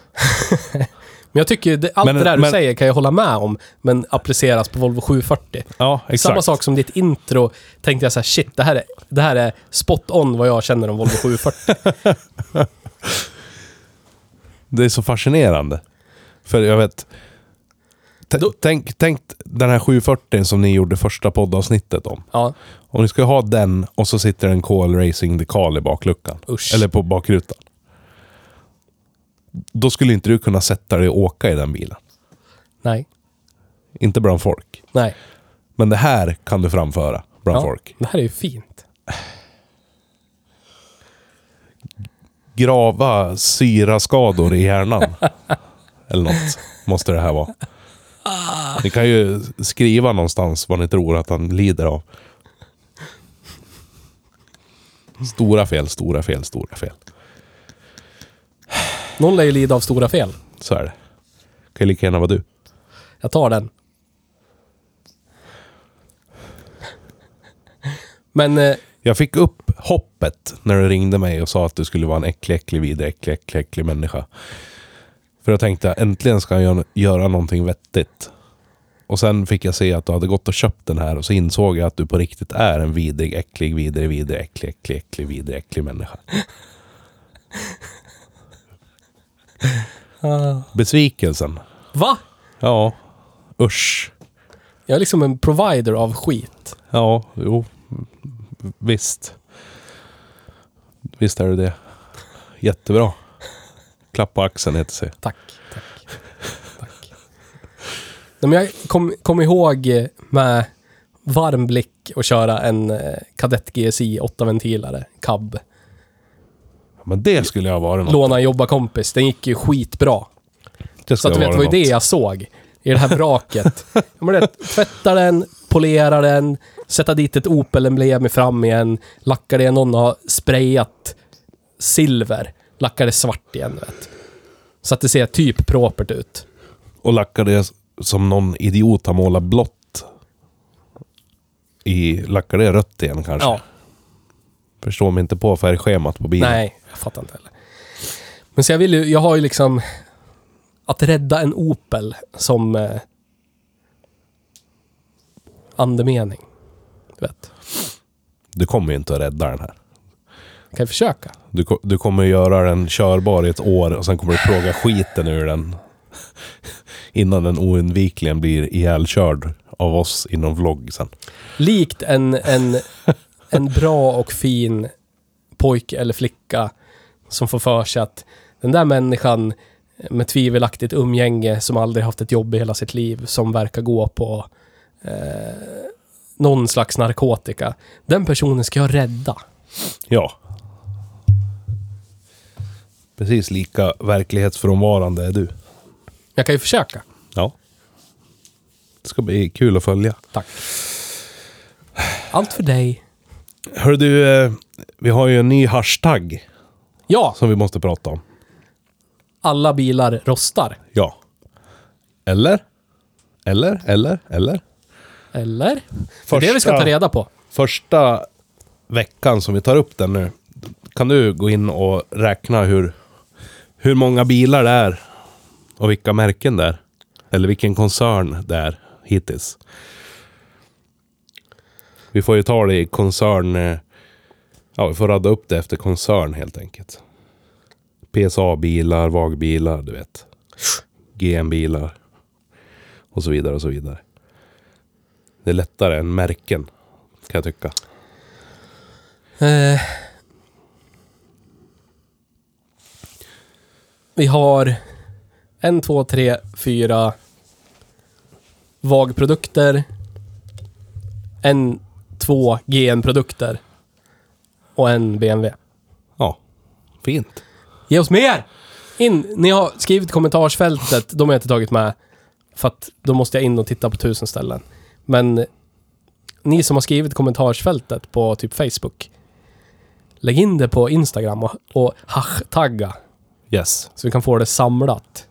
Men jag tycker ju det, allt Men- det där du men- säger kan jag hålla med om, men appliceras på Volvo 740. Ja, exakt. Samma sak som ditt intro, tänkte jag så här, shit, det här är, det här är spot on vad jag känner om Volvo 740. Det är så fascinerande. För jag vet... T- Då- tänk, tänk den här 740 som ni gjorde första poddavsnittet om. Ja, Om ni ska ha den och så sitter en KL Racing Decal i bakluckan. Usch. Eller på bakrutan. Då skulle inte du kunna sätta dig och åka i den bilen. nej, Inte bland folk. nej. Men det här kan du framföra bland folk. Det här är ju fint. Grava syraskador i hjärnan. Eller något måste det här vara. Ni kan ju skriva någonstans vad ni tror att han lider av. Stora fel, stora fel, stora fel. Någon lär ju lida av stora fel. Så är det. Kan ju lika gärna vara du. Jag tar den. Men eh, Jag fick upp hoppet när du ringde mig och sa att du skulle vara en äcklig, äcklig, vidrig, äcklig, äcklig, äcklig människa. För jag tänkte äntligen ska jag gö- göra någonting vettigt. Och sen fick jag se att du hade gått och köpt den här och så insåg jag att du på riktigt är en vidrig, äcklig, vidrig, vidrig, äcklig, äcklig, äcklig, vidrig, äcklig människa. Besvikelsen. va? Ja. Usch. Jag är liksom en provider av skit. Ja, jo. Visst. Visst är du det. Jättebra. Klapp på axeln heter sig. Tack. Tack. tack. Nej, men jag kom, kom ihåg eh, med varm blick och köra en eh, Kadett GSI 8-ventilare, cab. Men det skulle jag vara något. Låna en jobbarkompis. Den gick ju skitbra. det Så att du vet, det var ju något. det jag såg i det här vraket. Ja, men du vet, Tvätta den, polera den, sätta dit ett Opel-emblem i fram igen, lacka det någon har sprayat silver, lacka det svart igen. Vet. Så att det ser typ propert ut. Och lackade som någon idiot har målat blått. I, lackade det rött igen kanske? Ja, Förstår mig inte på färgschemat på bilen. nej, jag fattar inte heller. Men så jag vill ju, jag har ju liksom att rädda en Opel som eh, andemening. Du vet, Du kommer ju inte att rädda den här. jag kan ju försöka. Du, ko- du kommer att göra den körbar i ett år och sen kommer du plåga skiten ur den. Innan den oundvikligen blir ihjälkörd av oss i någon vlogg sen. Likt en, en, en bra och fin pojke eller flicka som får för sig att den där människan med tvivelaktigt umgänge som aldrig haft ett jobb i hela sitt liv som verkar gå på eh, någon slags narkotika. Den personen ska jag rädda. Ja. Precis lika verklighetsfrånvarande är du. Jag kan ju försöka. Ja. Det ska bli kul att följa. Tack. Allt för dig. Hör du, eh, vi har ju en ny hashtag Ja, som vi måste prata om. alla bilar rostar. Ja. Eller? Eller? Eller? Eller? Eller? Det är det vi ska Första- ta reda på. första veckan som vi tar upp den nu. Kan du gå in och räkna hur, hur många bilar det är och vilka märken det är? Eller vilken koncern det är hittills. Vi får ju ta det i koncern... eh, Ja, vi får radda upp det efter koncern helt enkelt. PSA-bilar, VAG-bilar, du vet. GM-bilar. Och så vidare och så vidare. Det är lättare än märken, kan jag tycka. Eh, vi har en, två, tre, fyra VAG-produkter. En, två GM-produkter. Och en BMW. Ja, fint. Ge oss mer! In, ni har skrivit i kommentarsfältet, de har jag inte tagit med. För att då måste jag in och titta på tusen ställen. Men ni som har skrivit i kommentarsfältet på typ Facebook. Lägg in det på Instagram och, och hashtagga. Yes. Så vi kan få det samlat.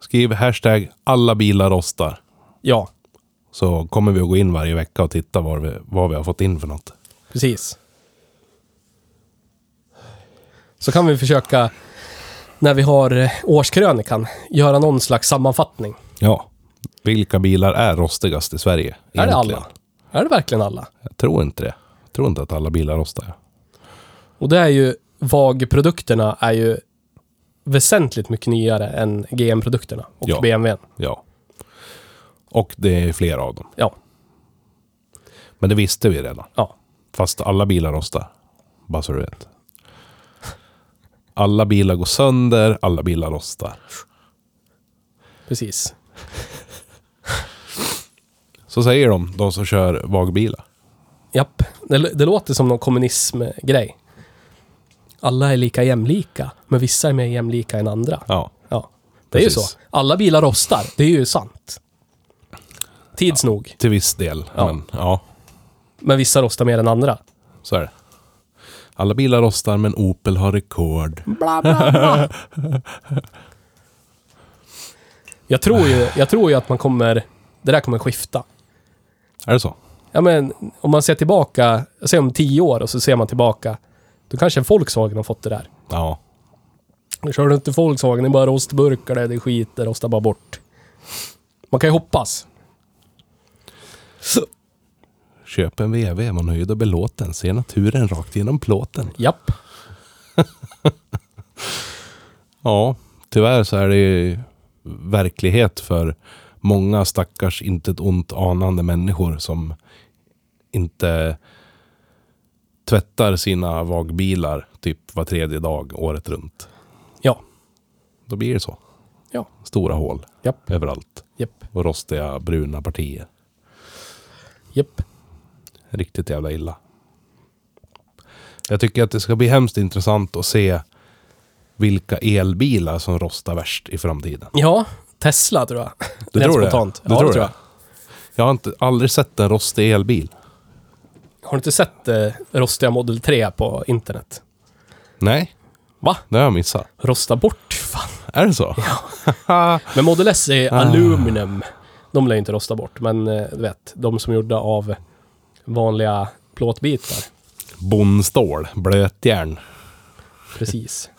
Skriv hashtag alla bilar rostar. Ja, Så kommer vi att gå in varje vecka och titta vad vi, vad vi har fått in för något. precis. Så kan vi försöka, när vi har eh, årskrönikan, göra någon slags sammanfattning. Ja. Vilka bilar är rostigast i Sverige? Är det egentligen? alla? Är det verkligen alla? Jag tror inte det. Jag tror inte att alla bilar rostar. Och det är ju, VAG-produkterna är ju väsentligt mycket nyare än GM-produkterna och Ja. BMWn. Ja. Och det är flera av dem. Ja, Men det visste vi redan. ja. Fast alla bilar rostar. Bara så du vet. Alla bilar går sönder, alla bilar rostar. Precis. Så säger de, de som kör vagbilar. Japp. Det, det låter som någon kommunismgrej. Alla är lika jämlika, men vissa är mer jämlika än andra. Ja. Ja, det är ju Precis. så. Alla bilar rostar, det är ju sant. Tids nog. Till viss del. Ja. Men ja, Men vissa rostar mer än andra. så är det. Alla bilar rostar men Opel har rekord. Bla, bla, bla. jag, tror ju, jag tror ju att man kommer... Det där kommer skifta. Är det så? Ja, men om man ser tillbaka, säg om tio år och så ser man tillbaka. Då kanske en Volkswagen har fått det där. Ja. Nu kör du inte Volkswagen, det är bara rostburkar där, det är skit, det rostar bara bort. Man kan ju hoppas. Köp en VW, är man nöjd och belåten. Ser naturen rakt genom plåten. Japp. Ja, tyvärr så är det ju verklighet för många stackars intet ont anande människor som inte tvättar sina vagbilar typ var tredje dag året runt. Ja. Då blir det så. Ja. Stora hål Japp. överallt Japp. och rostiga bruna partier. Japp. Riktigt jävla illa. Jag tycker att det ska bli hemskt intressant att se vilka elbilar som rostar värst i framtiden. Ja, Tesla tror jag. Du Rent tror det? spontant. Du ja, tror det det? tror jag. Jag har inte, aldrig sett en rostig elbil. Har du inte sett eh, rostiga Model 3 på internet? Nej, Va? det har jag missat. Rosta bort? Fan. Är det så? Men Model S är aluminium. De lär ju inte rosta bort, men eh, du vet, de som är gjorda av vanliga plåtbitar. Bondstål, blötjärn. Precis.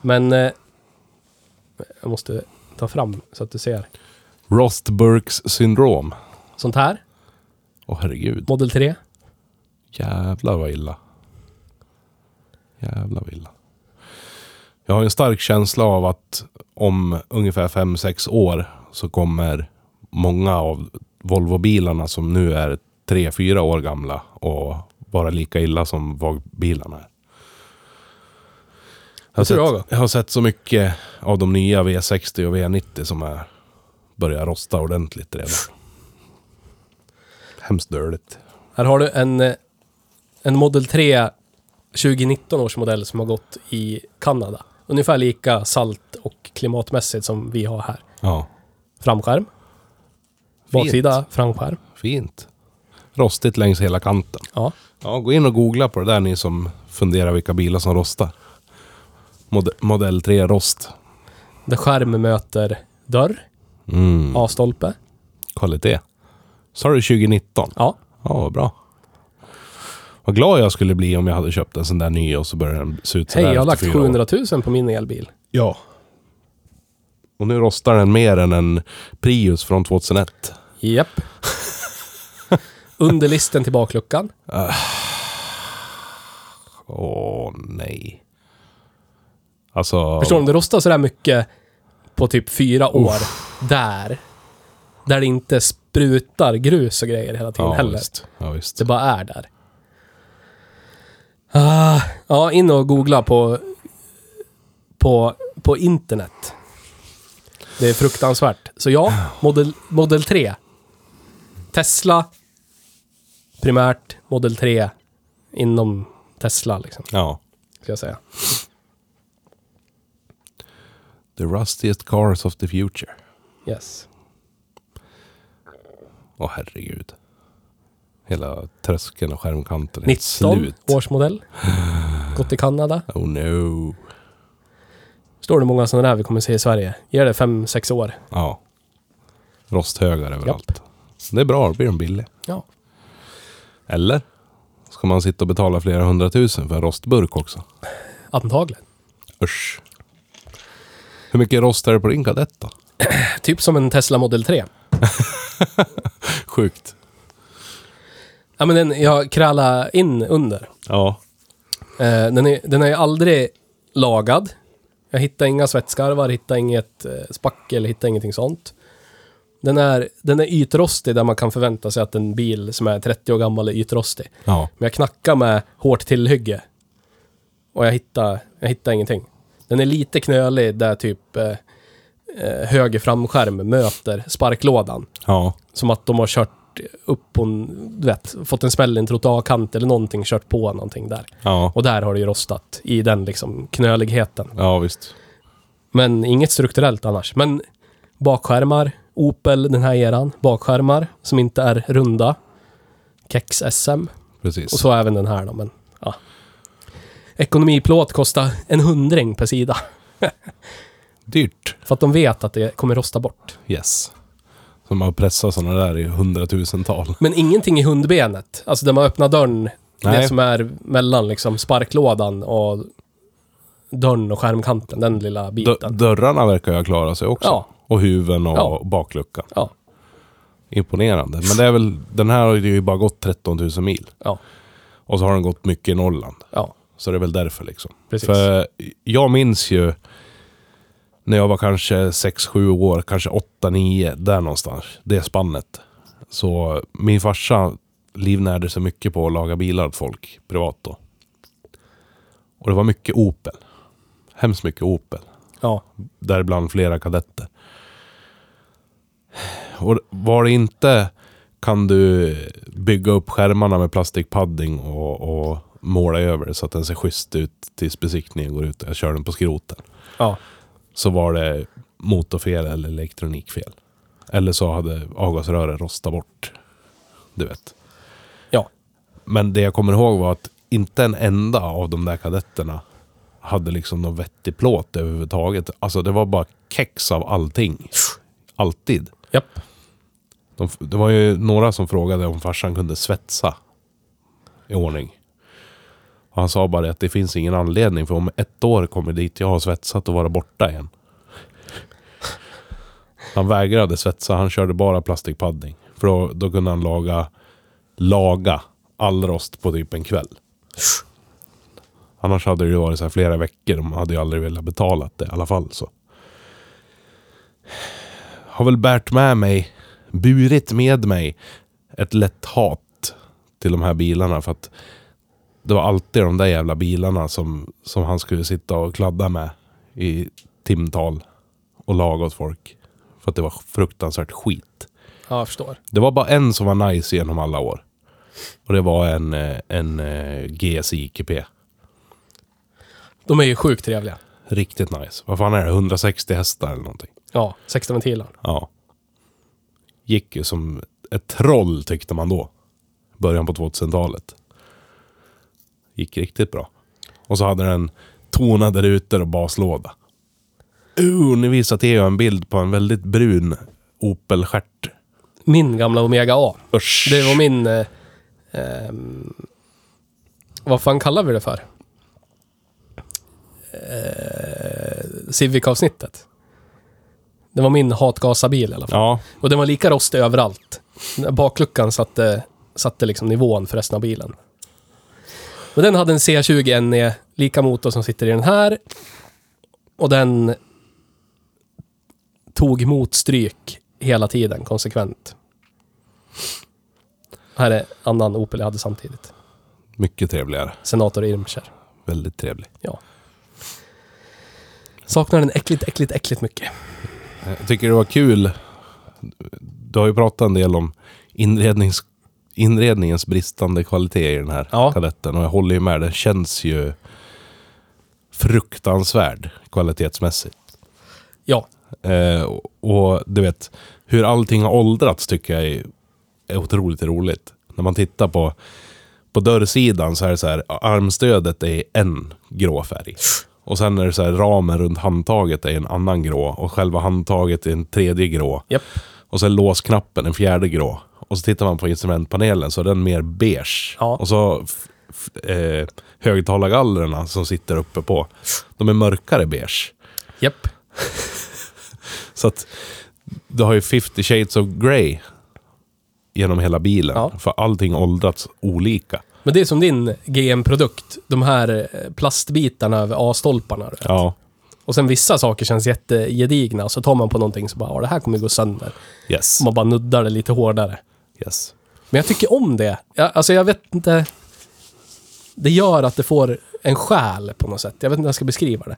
Men... Eh, jag måste ta fram så att du ser. Rostburgs syndrom. Sånt här, Åh herregud. Model 3. Jävlar vad illa. Jävlar vad illa. Jag har en stark känsla av att om ungefär 5-6 år så kommer många av Volvo-bilarna som nu är 3-4 år gamla och bara lika illa som VAG-bilarna är. Jag har, tror jag sett, då. jag har sett så mycket av de nya V60 och V90 som är, börjar rosta ordentligt redan. Hemskt dåligt. Här har du en, eh, en Model 3 2019 års modell som har gått i Kanada. Ungefär lika salt och klimatmässigt som vi har här. Ja. Framskärm. Baksida, framskärm. Fint. Rostigt längs hela kanten. Ja. Ja, gå in och googla på det där ni som funderar vilka bilar som rostar. Mod- modell 3 rost. Där skärm möter dörr. Mm. A-stolpe. Kvalitet. Sa du 2019? Ja. Ja, vad bra. Vad glad jag skulle bli om jag hade köpt en sån där ny och så började den se ut Hej, sådär jag har efter lagt fyra år. 700 000 på min elbil. Ja. Och nu rostar den mer än en Prius från 2001. *laughs* Japp. Underlisten till bakluckan. Åh, nej. Alltså... Förstår du, om det rostar sådär mycket på typ fyra år. där. Där det inte sprutar grus och grejer hela tiden heller. visst. Ja, visst. Det bara är där. Ah, ja, in och googla på, på, på internet. Det är fruktansvärt. Så ja, Model, model 3. Tesla. Primärt Model 3. Inom Tesla, liksom. Ja. Ska jag säga. The rustiest cars of the future. Yes. Åh herregud. Hela tröskeln och skärmkanten är helt 19 slut. årsmodell. Gått till Kanada. Oh no. Står det många sådana där vi kommer se i Sverige? Ger det 5-6 år? Ja. Rosthögar överallt. Det är bra, då blir de billiga. Ja. Eller? Ska man sitta och betala flera hundratusen för en rostburk också? Antagligen. Usch. Hur mycket rost är det på din kadett då? Typ som en Tesla Model 3. Sjukt. Ja, men den, jag kralade in under. Ja. Eh, den, är, den är ju aldrig lagad. Jag hittade inga svetskarvar, hittade inget eh, spackel, hittade ingenting sånt. Den är, den är ytrostig där man kan förvänta sig att en bil som är 30 år gammal är ytrostig. Ja. Men jag knackade med hårt tillhygge. Och jag hittade, jag hittade ingenting. Den är lite knölig där typ eh, eh, höger framskärm möter sparklådan. Ja. Som att de har kört upp på en, du vet, fått en smäll i en trottoarkant eller någonting, kört på någonting där. Ja. Och där har det ju rostat i den liksom knöligheten. Ja, visst. Men inget strukturellt annars. Men bakskärmar, Opel den här eran, bakskärmar som inte är runda. Kex SM. Precis. Och så även den här då, men ja. Ekonomiplåt kostar en hundring per sida. Dyrt. För att de vet att det kommer rosta bort. Yes. Som har pressat sådana där i hundratusental. Men ingenting i hundbenet. Alltså där man öppnar dörren. Det Nej. som är mellan liksom sparklådan och dörren och skärmkanten. Den lilla biten. Dö- dörrarna verkar ju ha klarat sig också. Ja. Och huven och Ja. bakluckan. ja, Imponerande. Men det är väl, den här har ju bara gått 13 000 mil. ja, Och så har den gått mycket i Norrland. ja. Så det är väl därför liksom. Precis. För jag minns ju när jag var kanske 6-7 år, kanske 8-9, där någonstans. Det spannet. Så min farsa livnärde sig mycket på att laga bilar åt folk privat då. Och det var mycket Opel. Hemskt mycket Opel Ja, däribland flera kadetter. Och var det inte kan du bygga upp skärmarna med plastikpadding och, och måla över det så att den ser schysst ut tills besiktningen går ut och jag kör den på skroten. ja. Så var det motorfel eller elektronikfel. Eller så hade avgasrören rostat bort. Du vet. ja. Men det jag kommer ihåg var att inte en enda av de där kadetterna hade liksom någon vettig plåt överhuvudtaget. Alltså det var bara kex av allting. Alltid. Japp. De, det var ju några som frågade om farsan kunde svetsa i ordning. Och han sa bara det att det finns ingen anledning för om ett år kommer dit jag har svetsat och vara borta igen. Han vägrade svetsa, han körde bara plastikpadding. För då, då kunde han laga, laga all rost på typ en kväll. Annars hade det ju varit så här flera veckor, de hade ju aldrig velat betala det i alla fall. Så. Har väl bärt med mig burit med mig ett lätt hat till de här bilarna. För att det var alltid de där jävla bilarna som, som han skulle sitta och kladda med i timtal och laga åt folk. För att det var fruktansvärt skit. Ja, jag förstår. Det var bara en som var nice genom alla år. Och det var en, eh, en eh, GSI kupé. De är ju sjukt trevliga. Riktigt nice. Vad fan är det? 160 hästar eller någonting. Ja, 16 ventiler. Ja. Gick ju som ett troll tyckte man då. Början på 2000-talet. Gick riktigt bra. Och så hade den tonade rutor och baslåda. Uh, nu visar Theo en bild på en väldigt brun Opel-stjärt. Min gamla Omega A. Usch. Det var min... Eh, ehm, vad fan kallar vi det för? Eh, Civic-avsnittet. Det var min hatgasabil i alla fall. Ja, Och den var lika rostig överallt. Den här Bakluckan satte, satte liksom nivån för resten av bilen. Men den hade en C20 NE, lika motor som sitter i den här. Och den tog emot stryk hela tiden konsekvent. Här är annan Opel jag hade samtidigt. Mycket trevligare. Senator Irmscher. Väldigt trevlig. Saknar den äckligt, äckligt, äckligt mycket. Jag Eh, tycker det var kul. Du har ju pratat en del om inrednings, inredningens bristande kvalitet i den här Ja. kadetten. Och jag håller ju med. Den känns ju fruktansvärd kvalitetsmässigt. Ja, Eh, och, och du vet, hur allting har åldrats tycker jag är, är otroligt roligt. När man tittar på, på dörrsidan så är det så här, armstödet är en grå färg. Och sen är det så här, ramen runt handtaget är en annan grå. Och själva handtaget är en tredje grå. japp. Och sen låsknappen, en fjärde grå. Och så tittar man på instrumentpanelen så är den mer beige. Ja. Och så f- f- eh, högtalargallrarna som sitter uppe på, de är mörkare beige. Japp. Så att du har ju 50 shades of grey genom hela bilen. Ja. För allting åldrats olika. Men det är som din GM-produkt. De här eh, plastbitarna över A-stolparna. du vet. Ja. Och sen vissa saker känns jättegedigna. Så tar man på någonting så bara, "Ja, det här kommer gå sönder. Yes. Man bara nuddar det lite hårdare. yes. Men jag tycker om det. Jag, alltså jag vet inte. Det gör att det får en själ på något sätt. Jag vet inte hur jag ska beskriva det.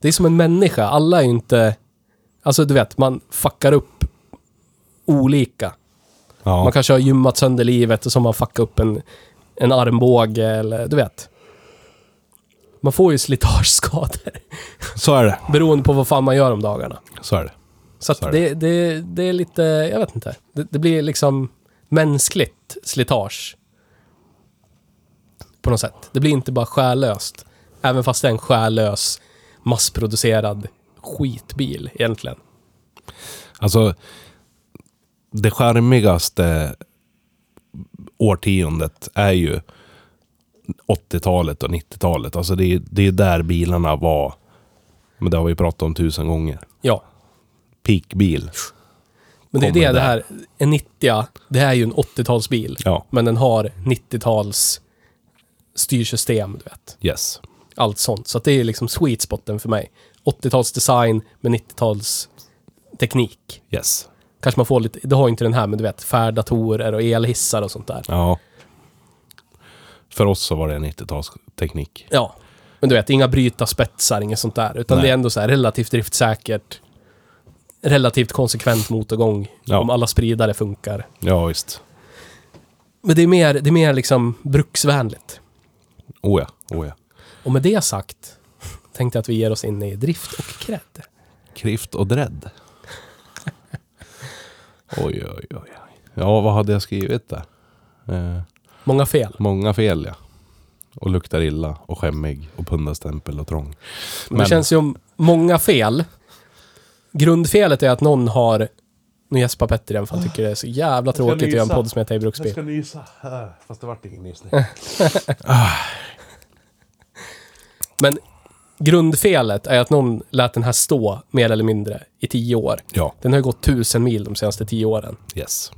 Det är som en människa. Alla är ju inte... Alltså du vet, man fuckar upp olika. Ja. Man kanske har gymmat sönder livet och så har man fuckat upp en, en armbåge eller du vet. Man får ju slitageskador Så är det. *laughs* beroende på vad fan man gör om dagarna. Så är det. Så Så är att det, det, det är lite, jag vet inte. Det, det blir liksom mänskligt slitage. På något sätt. Det blir inte bara själlöst. Även fast det är en själlös, massproducerad skitbil egentligen. Alltså, det charmigaste årtiondet är ju 80-talet och 90-talet. Alltså det är, det är där bilarna var. Men det har vi pratat om tusen gånger. Ja. Peakbil. Men det är Kommer det, det där. här, en 90 det här är ju en 80-talsbil. Ja. Men den har 90-tals styrsystem, du vet. Yes. Allt sånt. Så att det är liksom sweet spoten för mig. 80-tals design med 90-tals teknik. Yes. Kanske man får lite, det har ju inte den här, men du vet, färdatorer och elhissar och sånt där. Ja. För oss så var det 90-talsteknik. Ja. Men du vet, inga bryta spetsar, inget sånt där. Utan Nej. det är ändå så här relativt driftsäkert. Relativt konsekvent motorgång. Ja. Om alla spridare funkar. Ja, visst. Men det är mer, det är mer liksom bruksvänligt. Oh ja, oh ja. Och med det sagt tänkte jag att vi ger oss in i drift och cred. Krift och Dredd. *laughs* Oj, oj, oj. oj. Ja, vad hade jag skrivit där? Eh, Många fel. många fel, ja. Och luktar illa och skämmig och pundarstämpel och trång. Men, Men- det känns ju om många fel. Grundfelet är att någon har... Nu gäspar Petter igen för han tycker det är så jävla ska tråkigt att göra en nysa. podd som heter I bruksbil. nysa. Fast det vart ingen nysning. Men grundfelet är att någon lät den här stå mer eller mindre i tio år. ja, Den har ju gått tusen mil de senaste tio åren. yes.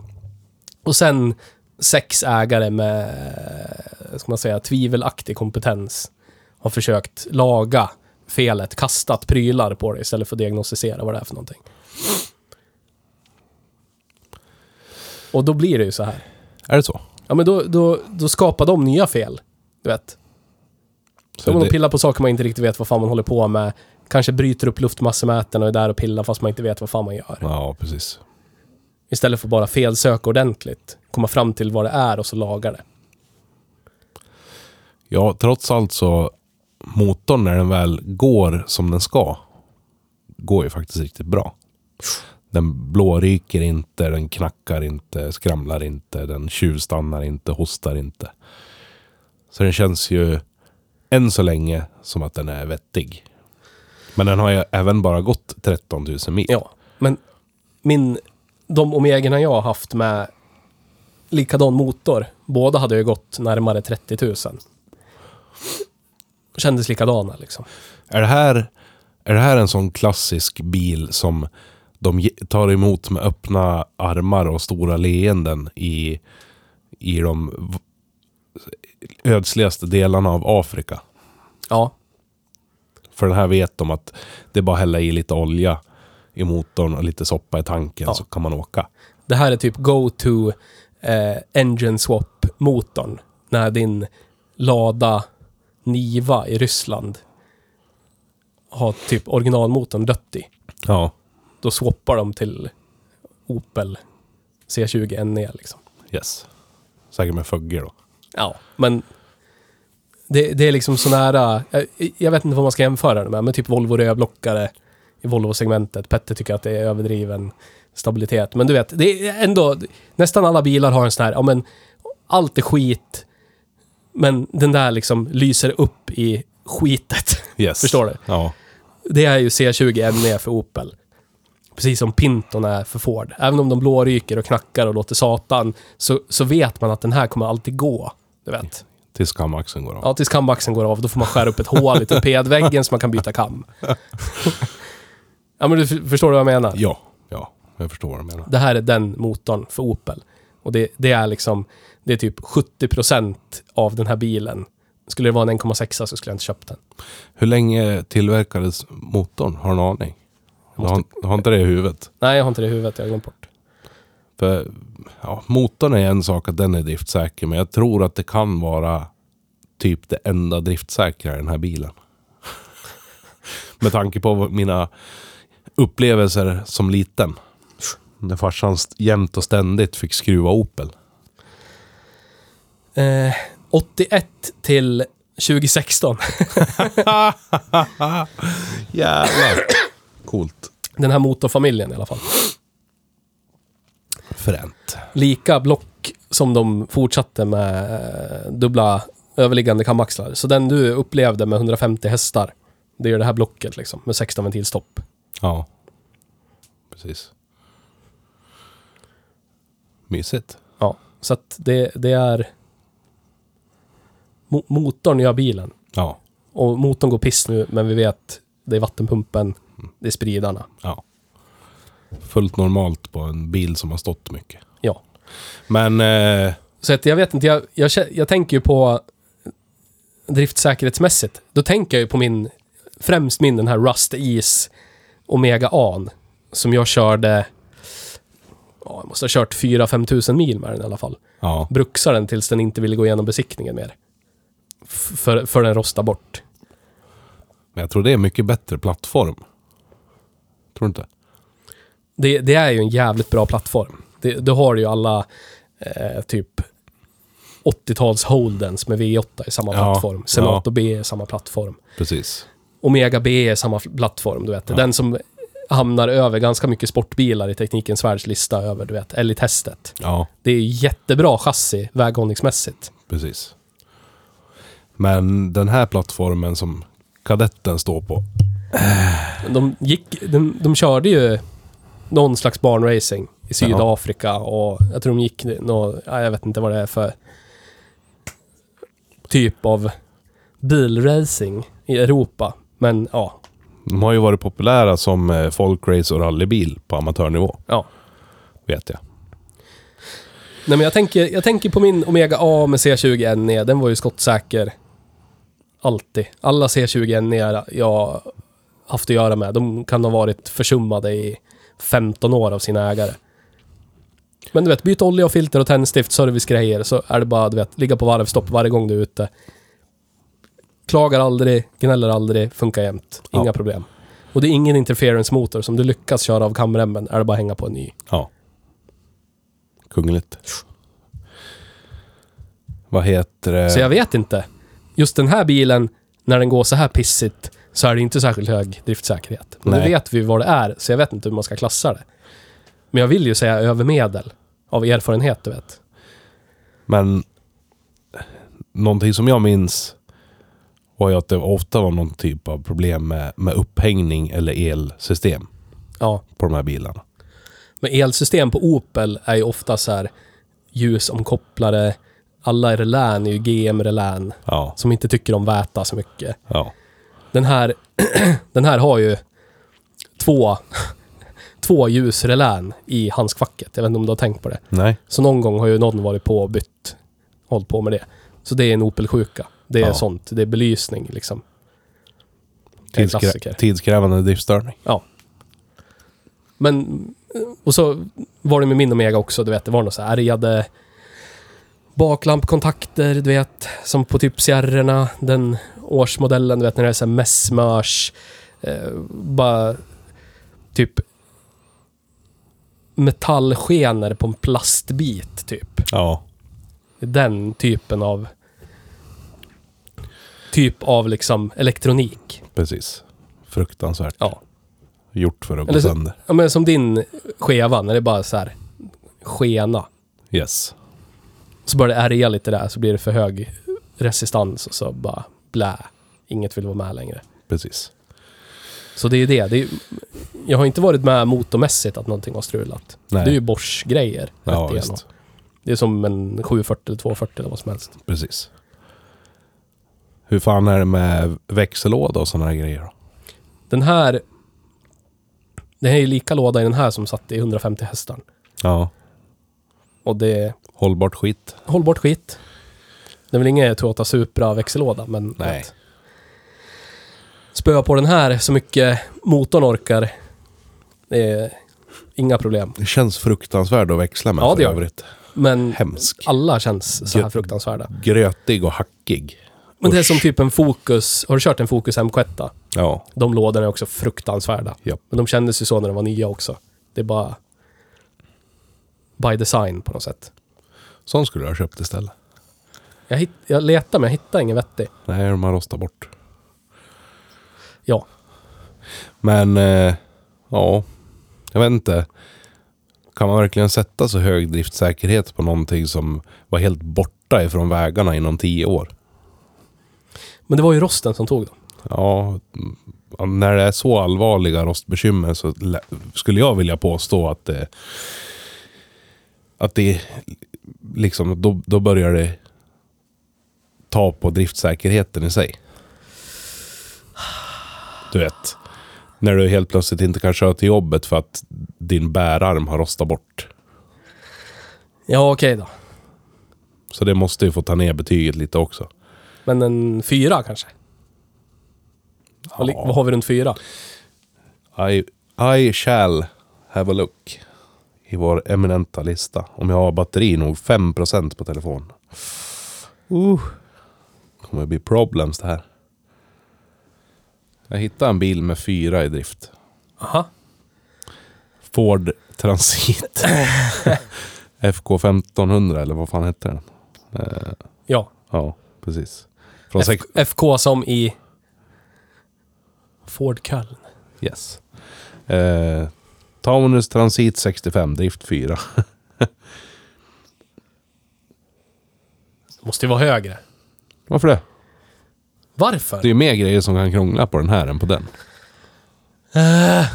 Och sen sex ägare med, ska man säga, tvivelaktig kompetens har försökt laga felet, kastat prylar på det istället för att diagnostisera vad det är för någonting. Och då blir det ju så här. Är det så? Ja, men då, då, då skapar de nya fel. Du vet. så Då man det, och pillar på saker man inte riktigt vet vad fan man håller på med. Kanske bryter upp luftmassemätaren och är där och pillar fast man inte vet vad fan man gör. Ja, precis. Istället för att bara felsöka ordentligt. Komma fram till vad det är och så laga det. Ja, trots allt så motorn när den väl går som den ska går ju faktiskt riktigt bra. Den blåryker inte, den knackar inte, skramlar inte, den tjuvstannar inte, hostar inte. Så den känns ju än så länge som att den är vettig. Men den har ju även bara gått 13 000 mil. Ja, men min, de Omegorna jag har haft med likadan motor, båda hade ju gått närmare 30 000. Kändes likadana liksom. Är, det här, är det här en sån klassisk bil som de ge- tar emot med öppna armar och stora leenden i, i de v- ödsligaste delarna av Afrika? Ja, För den här vet de att det är bara att hälla i lite olja, i motorn och lite soppa i tanken Ja. så kan man åka. Det här är typ go-to eh, engine swap-motorn. När din Lada Niva i Ryssland har typ originalmotorn dött i. Ja, Då swappar de till Opel C20 NE liksom. yes. Säkert med fögger då. Ja, men det, det är liksom så nära... Jag, jag vet inte vad man ska jämföra det med, men typ Volvo rödblockare i Volvo-segmentet. Petter tycker att det är överdriven stabilitet. Men du vet, det är ändå... Nästan alla bilar har en sån här, ja men allt är skit, men den där liksom lyser upp i skitet. *laughs* Yes. Förstår du? Ja. Det är ju C20 ME E för Opel. Precis som Pinton är för Ford. Även om de blåryker och knackar och låter satan, så, så vet man att den här kommer alltid gå. Du vet. Tills kamaxen går av. Ja, tills kambaxen går av. Då får man skära upp ett hål i torpedväggen så man kan byta kam. ja, men du f- förstår vad jag menar. Ja, ja. Jag förstår vad du menar. Det här är den motorn för Opel. Och det, det är liksom, det är typ 70% av den här bilen. Skulle det vara en 1,6 så skulle jag inte köpt den. Hur länge tillverkades motorn? Har du en aning? Du har, du har inte det i huvudet? Nej, jag har inte det i huvudet. Jag har glömt bort. För ja, motorn är en sak att den är driftsäker, men jag tror att det kan vara typ det enda driftsäkra i den här bilen. *laughs* Med tanke på vad- mina upplevelser som liten. När farsan st- jämt och ständigt fick skruva Opel. *laughs* Eh, 81 till 2016. Jävlar! Coolt. Den här motorfamiljen i alla fall. Fränt. lika block som de fortsatte med eh, dubbla överliggande kamaxlar. Så den du upplevde med 150 hästar, det är ju det här blocket liksom, med 16 ventilstopp. Ja. Precis. Mysigt. Ja, så att det, det är mo- motorn gör bilen. Ja. Och motorn går piss nu, men vi vet, det är vattenpumpen, det är spridarna. Ja. Fullt normalt på en bil som har stått mycket. Ja. Men eh, Så att jag vet inte, jag, jag, kä- jag tänker ju på driftsäkerhetsmässigt. Då tänker jag ju på min, främst min den här Rust Ease Omega An. Som jag körde, ja, jag måste ha kört 4-5 tusen mil med den i alla fall. ja, Bruksade den tills den inte ville gå igenom besiktningen mer. F- För, för den rostade bort. men jag tror det är mycket bättre plattform. Tror du inte? Det, det är ju en jävligt bra plattform. Det, du har ju alla eh, typ 80-tals Holdens med V8 i samma Ja, plattform. Senator ja. B i samma plattform. Precis. Omega B är samma plattform, du vet. Den som hamnar över ganska mycket sportbilar i Teknikens världs lista över, du vet, Elitestet. Ja, Det är jättebra chassi väghållningsmässigt. precis. Men den här plattformen som kadetten står på. De gick, de, de körde ju någon slags barnracing i Sydafrika och jag tror de gick nå, ja, jag vet inte vad det är för typ av bilracing i Europa. Men ja, De har ju varit populära som eh, folkrace och rallybil på amatörnivå, ja. vet jag. Nej, men jag tänker, jag tänker på min Omega A med C20 NE. E. Den var ju skottsäker. Alltid. Alla C20 NE E jag haft att göra med, de kan ha varit försummade i 15 år av sina ägare. Men du vet, byt olja och filter och tändstift, servicegrejer, så är det bara, du vet, ligga på varvstopp varje gång du är ute. Klagar aldrig, gnäller aldrig, funkar jämt. Inga Ja. problem. Och det är ingen interference-motor, så om du lyckas köra av kamremmen är det bara att hänga på en ny. Ja. Kungligt. Vad heter det? Så jag vet inte. Just den här bilen, när den går så här pissigt, så är det inte särskilt hög driftsäkerhet. Men nu Nej. vet vi vad det är, så jag vet inte hur man ska klassa det. Men jag vill ju säga övermedel. Av erfarenhet, du vet. Men någonting som jag minns var ju att det ofta var någon typ av problem med, med upphängning eller elsystem Ja. på de här bilarna. Men elsystem på Opel är ju ofta så här ljusomkopplare. Alla relän är ju GM-relän Ja, som inte tycker om väta så mycket. ja, Den här, *clears throat* den här har ju två, *laughs* två ljusrelän i handskfacket. Jag vet inte om du har tänkt på det. nej, Så någon gång har ju någon varit på och bytt. Hållit på med det. Så det är en Opel-sjuka. Det är Ja. sånt. Det är belysning liksom. Det är en Tidskrä- klassiker. tidskrävande driftstörning. Ja. Men, och så var det med min Omega också, du vet, det var några så här ärgade baklampkontakter, du vet, som på typ Sierrorna, den årsmodellen, du vet, när det är så här messmörs, eh, bara typ metallskenor på en plastbit, typ. Ja. Den typen av typ av liksom elektronik. Precis. Fruktansvärt. Ja. Gjort för att gå Eller så- sönder. Ja, men som din skeva, när det är bara så här skena. Yes. Så börjar det ärga lite där, så blir det för hög resistans och så bara blä. Inget vill vara med längre. Precis. Så det är ju det. det är, ju- jag har inte varit med motormässigt att någonting har strulat. Nej. Det är ju Bosch-grejer. Ja, rätt igenom. visst. Det är som en 740 eller 240 eller vad som helst. Precis. Hur fan är det med växellåda och sådana här grejer då? Den här... Det här är ju lika låda i den här som satt i 150 hästar. Ja. Och det är Hållbart skit. hållbart skit. Det är väl ingen Toyota Supra-växellåda, men... Nej. att Spöa på den här så mycket motorn orkar. Det är inga problem. Det känns fruktansvärt att växla med Ja, för det gör det. övrigt. Men Hemsk. alla känns så här Gö- fruktansvärda. Grötig och hackig. Men det är Usch. som typ en Focus. Har du kört en Focus M6? Ja. De lådorna är också fruktansvärda. Japp. Men de kändes ju så när de var nya också. Det är bara... By design på något sätt. Sån skulle jag ha köpt istället. Jag, hitt, jag letade men jag hittade ingen vettig. Nej, de har rostat bort. Ja. Men, eh, ja. Jag vet inte. Kan man verkligen sätta så hög driftsäkerhet på någonting som var helt borta ifrån vägarna inom tio år? Men det var ju rosten som tog dem. Ja, mm, när det är så allvarliga rostbekymmer så lä- skulle jag vilja påstå att det... Att det liksom, då, då börjar det ta på driftsäkerheten i sig. Du vet, när du helt plötsligt inte kan köra till jobbet för att din bärarm har rostat bort. Ja, okej då. Så det måste ju få ta ner betyget lite också. Men en fyra kanske? Vad li- Vad har vi runt fyra? I, I shall have a look i vår eminenta lista. Om jag har batteri nog 5% på telefon. Uh. kommer bli problems det här. Jag hittade en bil med fyra i drift. Aha. Ford Transit. FK 1500 eller vad fan hette den? Ja. Ja, precis. Från sex- F- FK som i... Ford Köln. Yes. Eh, Taunus Transit 65, drift 4. Måste ju vara högre. Varför det? Varför? Det är ju mer grejer som kan krångla på den här än på den. Äh.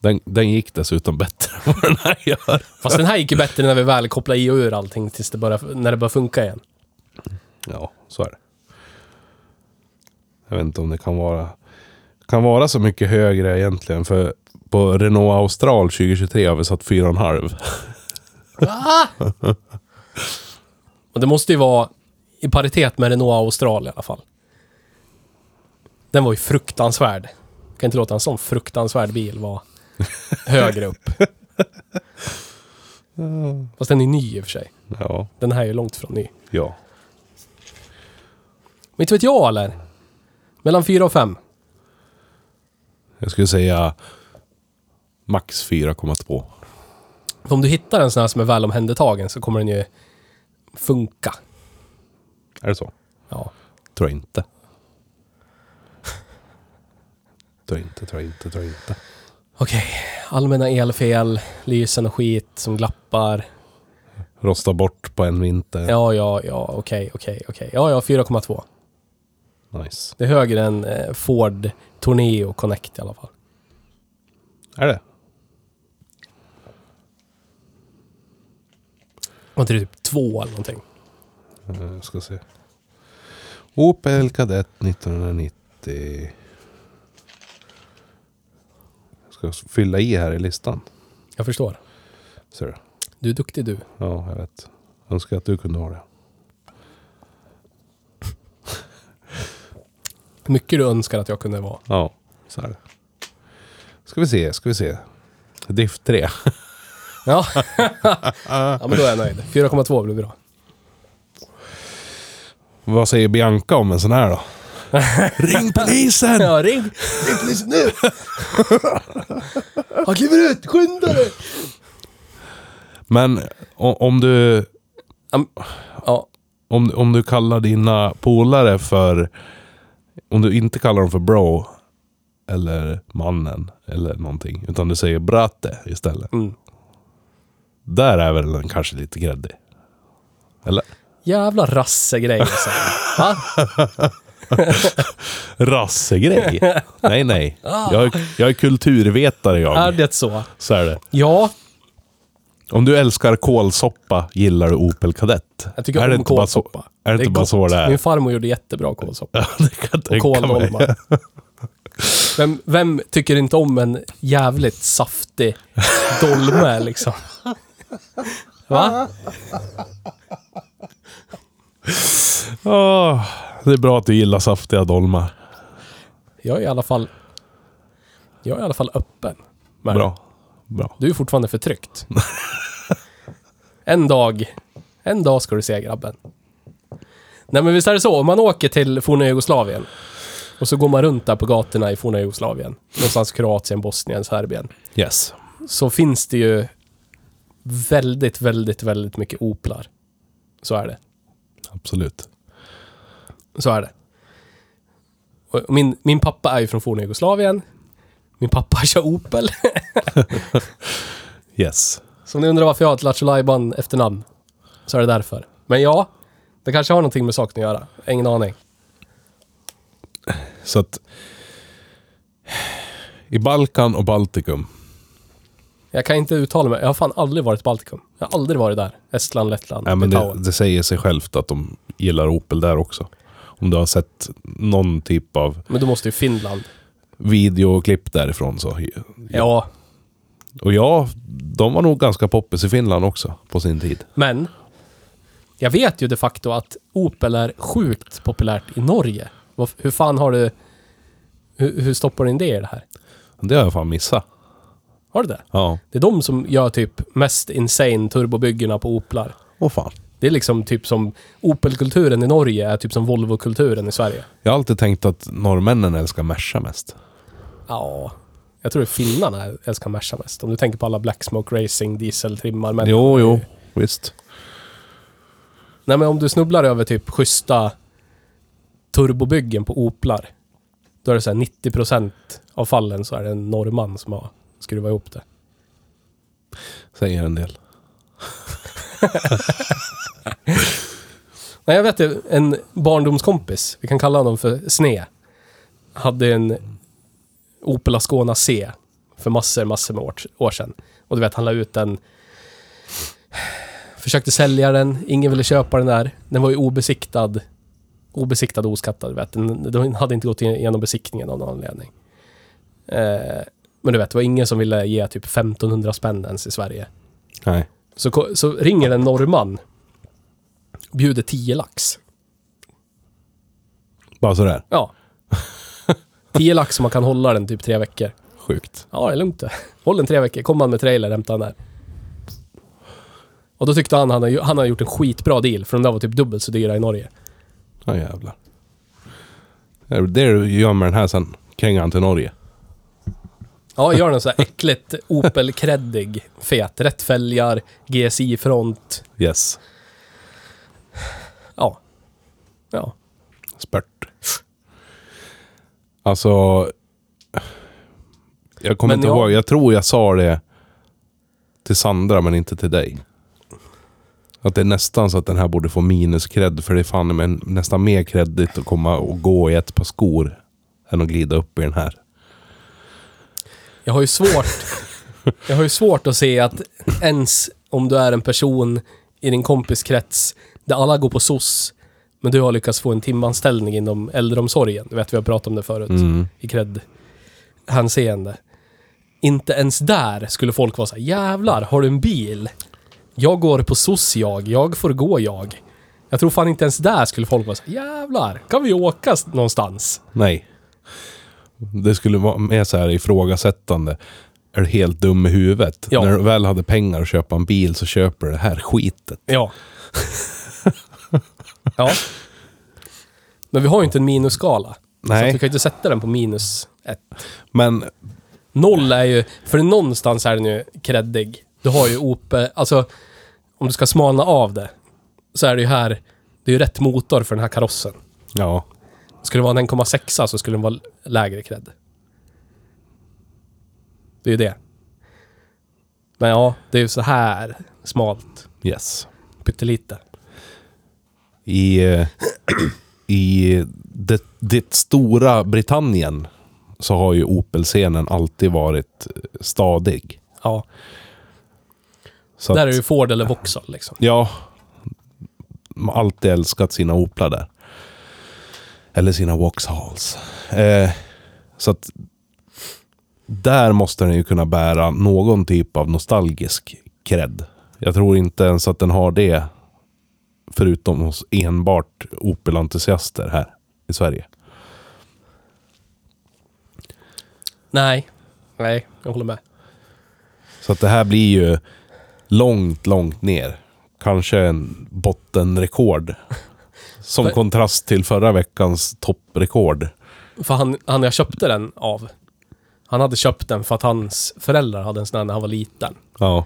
Den, den gick dessutom bättre än vad den här gör. Fast den här gick ju bättre när vi väl kopplade i och ur allting tills det började, när det började funka igen. Ja, så är det. Jag vet inte om det kan vara, kan vara så mycket högre egentligen. För på Renault Austral 2023 har vi satt 4,5. Och det måste ju vara i paritet med Renault Austral i alla fall. Den var ju fruktansvärd. Kan inte låta en sån fruktansvärd bil vara högre upp. Fast den är ny i och för sig. Ja, Den här är ju långt från ny. ja. Men inte vet jag eller? Mellan fyra och fem. Jag skulle säga max 4,2. För Om du hittar en sån här som är väl omhändertagen så kommer den ju funka. Är det så? Ja. Tror jag inte. Tror jag inte, tror jag inte, tror jag inte. Okej. Allmänna elfel, lysen och skit som glappar. Rosta bort på en vinter. Ja, ja, ja, okej, okej, okej. Ja, ja, 4,2. Nice. Det är högre än eh, Ford Torneo Connect i alla fall. Är det? Var inte det typ två eller någonting? Eh, ska se. Opel Kadett 1990. Jag ska s- fylla i här i listan. Jag förstår. Ser du? Du är duktig du. Ja, jag vet. Önskar att du kunde ha det. Mycket du önskar att jag kunde vara. Ja, så är det. Ska vi se, ska vi se. DIF 3. *laughs* Ja. ja, men då är jag nöjd. 4,2 blir bra. Vad säger Bianca om en sån här då? *laughs* Ring polisen! Ja, ring! Ring polisen nu! Han kliver ut! Skynda *laughs* dig! Men o- om du, Ja, om, om du kallar dina polare för... Om du inte kallar dem för bro, eller mannen, eller någonting. Utan du säger bratte istället. Mm. Där är väl den kanske lite gräddig. Eller? jävla rassegrej alltså. Va? Rassegrej? *laughs* nej, nej. Jag, är- jag är kulturvetare Är jag. det så? Så är det. Ja, Om du älskar kålsoppa gillar du Opel Kadett. Jag tycker är det om inte bara kålsoppa. Så, är det, inte bara så det är? Min farmor gjorde jättebra kålsoppa. *laughs* Ja, det kan jag tänka mig. Kålholmar. *laughs* Vem, vem tycker inte om en jävligt saftig dolme liksom? Va? Åh, det är bra att du gillar saftiga dolmar. Jag är i alla fall... Jag är i alla fall öppen. Men Bra. Bra. Du är *laughs* fortfarande förtryckt. en dag. En dag ska du se grabben. Nej men visst är det så, om man åker till forna Jugoslavien och så går man runt där på gatorna i forna Jugoslavien. Någonstans Kroatien, Bosnien, Serbien. Yes. så finns det ju väldigt, väldigt, väldigt mycket oplar. Så är det. Absolut. Så är det. Och min, min pappa är ju från forna Jugoslavien. Min pappa kör Opel. *laughs* Yes. Så om ni undrar varför jag har ett Lattjo Lajban efternamn, så är det därför. Men ja, det kanske har någonting med saken att göra. Ingen aning. Så att... I Balkan och Baltikum. Jag kan inte uttala mig. Jag har fan aldrig varit i Baltikum. Jag har aldrig varit där. Estland, Lettland, Nej, men det, Litauen. det säger sig självt att de gillar Opel där också. Om du har sett någon typ av Men då måste ju Finland. videoklipp därifrån så. Ja, Och ja, de var nog ganska poppis i Finland också på sin tid. men jag vet ju de facto att Opel är sjukt populärt i Norge. Varf- Hur fan har du... Hur, hur stoppar du in det i det här? Det har jag fan missat. Har du det? Ja. Det är de som gör typ mest insane turbobyggena på Oplar. Åh fan. Det är liksom typ som... Opel-kulturen i Norge är typ som Volvo-kulturen i Sverige. Jag har alltid tänkt att norrmännen älskar Merca mest. Ja... Jag tror finnarna älskar Merca mest. Om du tänker på alla Black Smoke Racing, dieseltrimmar. Men jo, jo. Visst. Nej men om du snubblar över typ schyssta turbobyggen på Oplar. Då är det så här 90% av fallen så är det en norrman som har skruvat ihop det. Säger en del. Nej jag vet ju, en barndomskompis, vi kan kalla honom för Sne. Hade en Opel Ascona C för massor, massor med år, år sedan. Och du vet, han la ut den. Försökte sälja den, ingen ville köpa den där. Den var ju obesiktad. Obesiktad och oskattad, du vet. Den, den hade inte gått igenom besiktningen av någon anledning. Eh, men du vet, det var ingen som ville ge typ 1500 spänn ens i Sverige. Nej. Så, ko- så ringer en norrman. Bjuder 10 lax. Bara sådär. Ja. *laughs* 10 lax som man kan hålla den typ tre veckor. Sjukt. Ja, det är lugnt det. Håll den tre veckor. Kom han med trailer, hämta han där. Och då tyckte han han har ju- han har gjort en skitbra deal, för de där var typ dubbelt så dyra i Norge. Ja jävlar. Det är det du gör med den här sen. Kränga han till Norge. Ja, gör den så här äckligt Opel-kreddig, fet. Rätt fälgar, GSI-front. Yes. Ja. Ja. Spört. Alltså... Jag kommer Men inte jag- ihåg. Jag tror jag sa det till Sandra, men inte till dig. Att det är nästan så att den här borde få minus cred, för det är fan men nästan mer creddigt att komma och gå i ett par skor än att glida upp i den här. Jag har ju svårt... Jag har ju svårt att se att ens om du är en person i din kompiskrets där alla går på SOS, men du har lyckats få en timanställning inom äldreomsorgen. Du vet, vi har pratat om det förut i cred-hänseende. Inte ens där skulle folk vara så här, jävlar, har du en bil? Jag går på SOS jag, jag får gå jag. Jag tror fan inte ens där skulle folk vara så här, jävlar, kan vi åka s- någonstans? Nej. Det skulle vara mer så här ifrågasättande. Är du helt dum i huvudet? Ja. När du väl hade pengar att köpa en bil så köper du det här skitet. Ja. *laughs* ja. Men vi har ju inte en minusskala. Så att vi Nej, kan ju inte sätta den på minus ett. men Noll är ju... För någonstans är den ju creddig. Du har ju OP... Alltså, om du ska smalna av det, så är det ju här... Det är ju rätt motor för den här karossen. ja. Skulle det vara en 1,6 så skulle den vara lägre cred. Det är ju det. Men ja, det är ju så här smalt. Yes. Pyttelite. I, eh, i det, det stora Britannien så har ju Opel-scenen alltid varit eh, stadig. Ja, Så där att- är det ju Ford eller Vauxhall liksom. Ja. De har alltid älskat sina Oplar där. Eller sina Vauxhalls. Eh, så att där måste den ju kunna bära någon typ av nostalgisk cred. Jag tror inte ens att den har det förutom hos enbart Opel-entusiaster här i Sverige. Nej. Nej, jag håller med. Så att det här blir ju långt, långt ner. Kanske en bottenrekord. Som kontrast till förra veckans topprekord. För han, han jag köpte den av, han hade köpt den för att hans föräldrar hade en sån här när han var liten. Ja.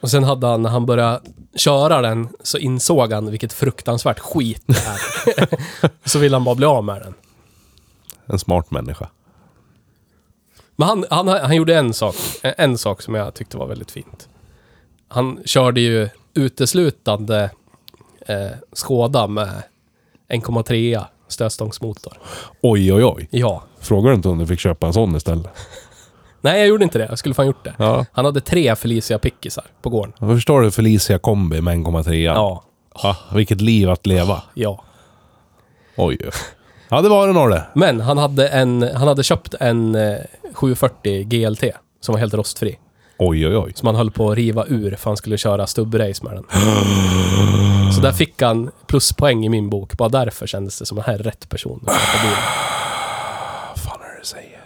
Och sen hade han, när han började köra den, så insåg han vilket fruktansvärt skit det är. *laughs* så ville han bara bli av med den. En smart människa. Men han, han, han gjorde en sak, en sak som jag tyckte var väldigt fint. Han körde ju uteslutande eh, Skoda med 1,3 stötstångsmotor. Oj, oj, oj. Ja. Frågar du inte om du fick köpa en sån istället? Nej, jag gjorde inte det. Jag skulle fan gjort det. Ja. Han hade tre Felicia pickisar på gården. Jag förstår du Felicia kombi med 1,3. Ja. Va? Vilket liv att leva. Ja. Oj. oj. Ja, det var det nog det. Men han hade, en, han hade köpt en eh, 740 GLT som var helt rostfri. Oj, oj, oj. Som han höll på att riva ur för han skulle köra stubbrace med den. Så där fick han pluspoäng i min bok. Bara därför kändes det som att han är rätt person att köpa bilen. Vad fan är det du säger?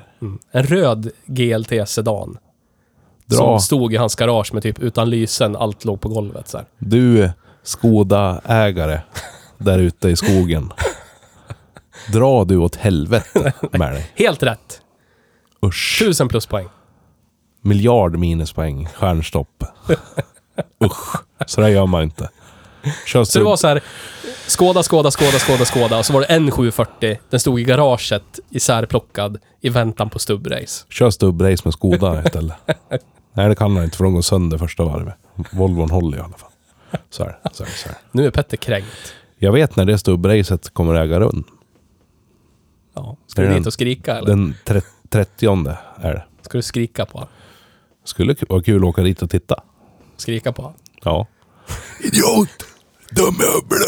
En röd GLT sedan. Dra. Som stod i hans garage med typ utan lysen, allt låg på golvet så här. Du Skoda-ägare där ute i skogen. Dra du åt helvete med dig. Helt rätt! Usch. Tusen pluspoäng. Miljard minuspoäng. Stjärnstopp. Usch. Så där gör man inte. Kör Så det var så här, skåda, skåda, skåda, skåda, skåda. Och så var det en 740. Den stod i garaget, isärplockad, i väntan på stubbrace. Kör stubbrace med Skoda istället. Nej, det kan han inte för de går sönder första varvet. Volvon håller i alla fall. Så här, så här, så här. Nu är Petter kränkt. Jag vet när det stubbracet kommer äga rum. Ja. Ska du Den- dit och skrika eller? Den tre- 30 är det. Ska du skrika på honom? Skulle ku- vara kul att åka dit och titta. Skrika på honom? Ja. Idiot! Dum jävel!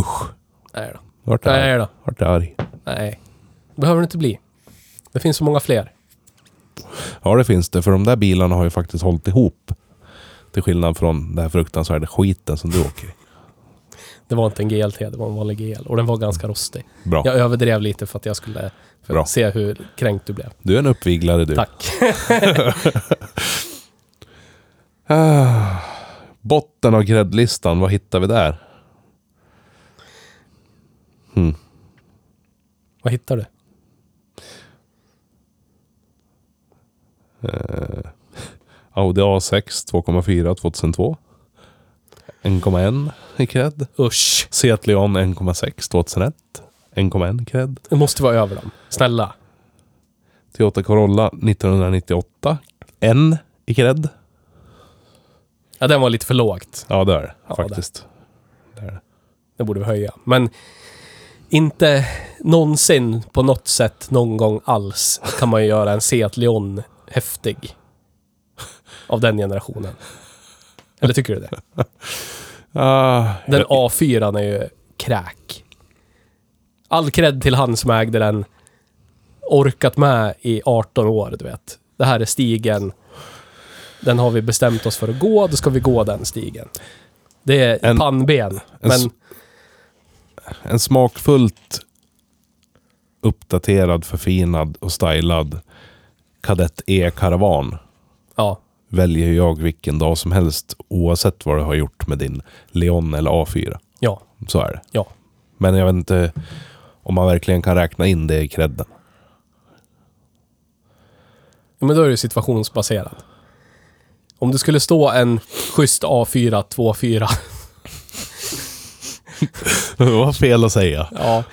Usch. Nej då. Vart är Nej jag? då. Vart är jag arg? Nej. Behöver det inte bli. Det finns så många fler. Ja, det finns det. För de där bilarna har ju faktiskt hållit ihop. Till skillnad från den här fruktansvärda skiten som du åker i. Det var inte en GLT, det var en vanlig GL. Och den var ganska rostig. Bra. Jag överdrev lite för att jag skulle för Bra. att se hur kränkt du blev. Du är en uppviglare du. Tack. Ah, Botten av gräddlistan, vad hittar vi där? Vad hittar du? Eh, Audi A6 2,4 2002. 1,1 i cred. Usch. Seat Leon 1,6 2001. 1,1 i cred. Det måste vara över dem. Snälla. Toyota Corolla 1998. 1 i cred. Ja, den var lite för lågt. Ja, det är det Ja, faktiskt. Det är det. Det borde vi höja. Men inte någonsin på något sätt någon gång alls kan man ju göra en Seat Leon häftig. Av den generationen. Eller tycker du det? Ah, Den jag, A4 är ju kräk. All cred till han som ägde den. Orkat med i 18 år, du vet. Det här är stigen. Den har vi bestämt oss för att gå, då ska vi gå den stigen. Det är En- pannben. en Men s- en smakfullt uppdaterad, förfinad och stylad Kadett E-karavan Ja. väljer jag vilken dag som helst oavsett vad du har gjort med din Leon eller A4. Ja. Så är det. Ja. Men jag vet inte om man verkligen kan räkna in det i *laughs* credden. Ja, Men då är det situationsbaserat. Om det skulle stå en schysst A4, 2-4. Vad fel att säga. Ja.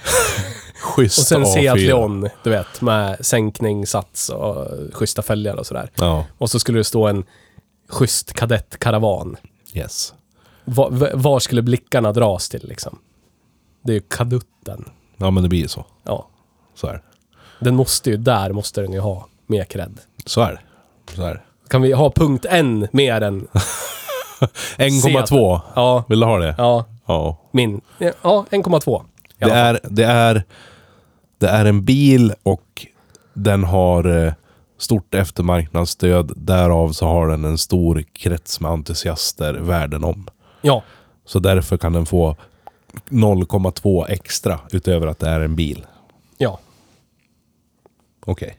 Schysst *laughs* Och sen A4. Seat Leon, du vet, med sänkning, sats och eh, schyssta fälgar och sådär. Ja, Och så skulle det stå en schysst kadettkaravan. yes. Va, va, var skulle blickarna dras till liksom? Det är ju kadutten. Ja, men det blir ju så. Ja. Så är det. Den måste ju, där måste den ju ha mer cred. Så är det. Så är det. Kan vi ha punkt en mer än... 1,2. Ja, Vill du ha det? ja, ja. min... Ja, 1,2. i Det alla fall. är, det, är, det är en bil och den har eh, stort eftermarknadsstöd. Därav så har den en stor krets med entusiaster världen om. Ja, Så därför kan den få 0,2 extra utöver att det är en bil. ja. Okej.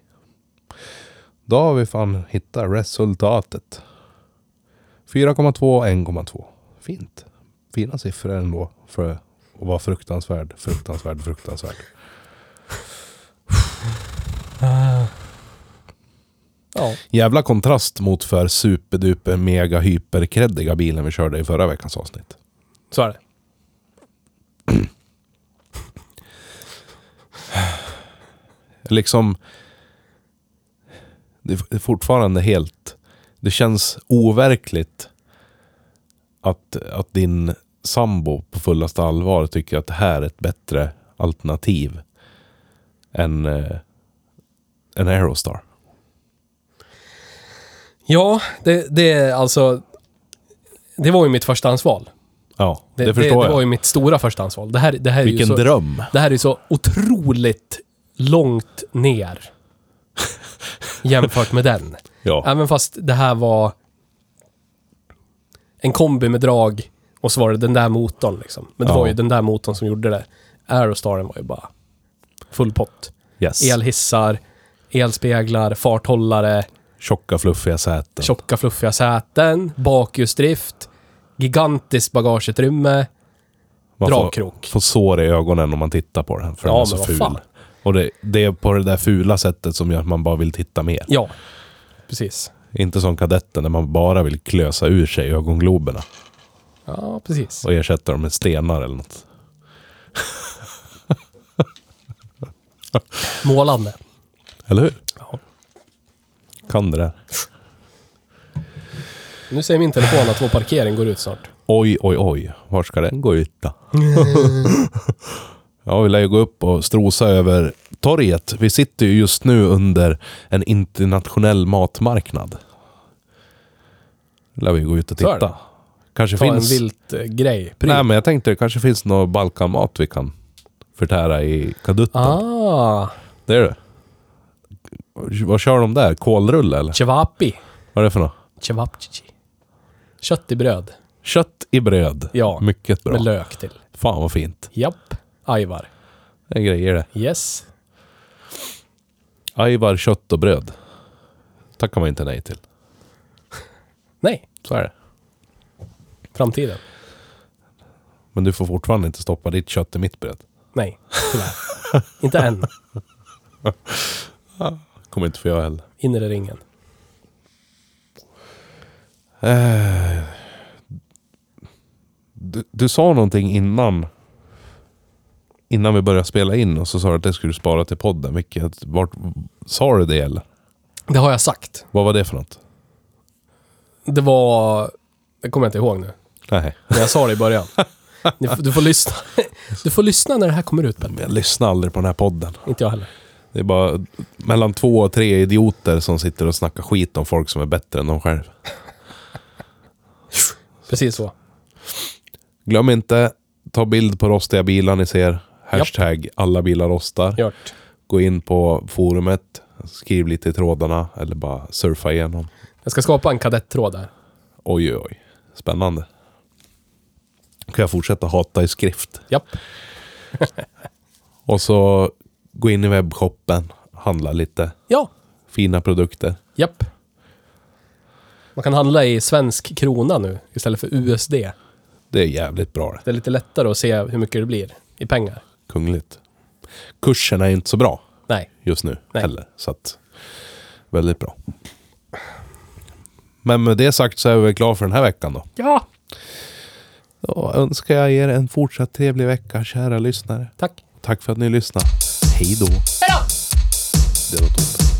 Då har vi fan hittat resultatet. 4,2 och 1,2. Fint. Fina siffror ändå för att vara fruktansvärd, fruktansvärd, fruktansvärd. Ja, Jävla kontrast mot för superduper mega hyperkreddiga bilen vi körde i förra veckans avsnitt. så är det. Liksom... Det är fortfarande helt... Det känns overkligt att, att din sambo på fullaste allvar tycker att det här är ett bättre alternativ än eh, en Aerostar. Ja, det, det är alltså... Det var ju mitt förstahandsval. Ja, det, Det, det, förstår det var jag. ju mitt stora förstahandsval. Det här, det här är ju Vilken så... dröm. Det här är så otroligt långt *laughs* ner. jämfört med den. Ja, Även fast det här var en kombi med drag och så var det den där motorn liksom. Men det Ja. var ju den där motorn som gjorde det. Aerostaren var ju bara full pott. yes. Elhissar, elspeglar, farthållare, Tjocka fluffiga säten. tjocka fluffiga säten, bakhjulsdrift, gigantiskt bagageutrymme. Man Dragkrok. Får, får sår i ögonen om man tittar på den. För Ja, den är men så vad ful. fan. Och det, det är på det där fula sättet som gör att man bara vill titta mer. Ja, precis. Inte som kadetten där man bara vill klösa ur sig ögongloberna Ja, precis. och ersätta dem med stenar eller något. Målande. Eller hur? Ja. Kan det där. Nu säger min telefon att vår parkering går ut snart. Oj, oj, oj. Var ska den gå ut *laughs* då? ja, vi lär ju gå upp och strosa över torget. Vi sitter ju just nu under en internationell matmarknad. Lär vi gå ut och Så är titta. det. Kanske Ta finns... en vilt eh, grej. Pryl. Nej, men jag tänkte det kanske finns någon balkanmat vi kan förtära i kadutten. Ah, Det är det. Vad kör de där? Kålrulle eller? cevapi. Vad är det för något? Cevapcici. Kött i bröd. Kött i bröd. Ja. Mycket bra. Med lök till. Fan vad fint. Japp. Ajvar. Det är grejer det. Yes. Ajvar, kött och bröd. Tackar man inte nej till. Nej, Så är det. framtiden. Men du får fortfarande inte stoppa ditt kött i mitt bröd. Nej, tyvärr. *laughs* Inte än. Kommer inte få jag heller. In i det ringen. Du, du sa någonting innan. Innan vi började spela in och så sa du att det skulle du spara till podden. Vilket, vart, sa du det eller? Det har jag sagt. Vad var det för något? Det var... Det kommer jag inte ihåg nu. Nej. Men jag sa det i början. Du, får- du får lyssna. Du får lyssna när det här kommer ut, Petter. Men jag lyssnar aldrig på den här podden. Inte jag heller. Det är bara mellan två och tre idioter som sitter och snackar skit om folk som är bättre än de själv. Precis så. Glöm inte, ta bild på rostiga bilar ni ser. Hashtag alla bilar rostar. Gjort. Gå in på forumet, skriv lite i trådarna eller bara surfa igenom. Jag ska skapa en kadettråd där. Oj, oj, oj. Spännande. Kan jag fortsätta hata i skrift? Japp. Och så gå in i webbshoppen, handla lite Ja, fina produkter. japp. Man kan handla i svensk krona nu istället för USD. Det Det är jävligt bra det. är lite lättare att se hur mycket det blir i pengar. Kungligt. Kurserna är inte så bra Nej. just nu Nej. heller. Så att, väldigt bra. Men med det sagt så är vi väl klara för den här veckan då. Ja. Då önskar jag er en fortsatt trevlig vecka, kära lyssnare. Tack. Tack för att ni lyssnade. Hej då. Det var toppen.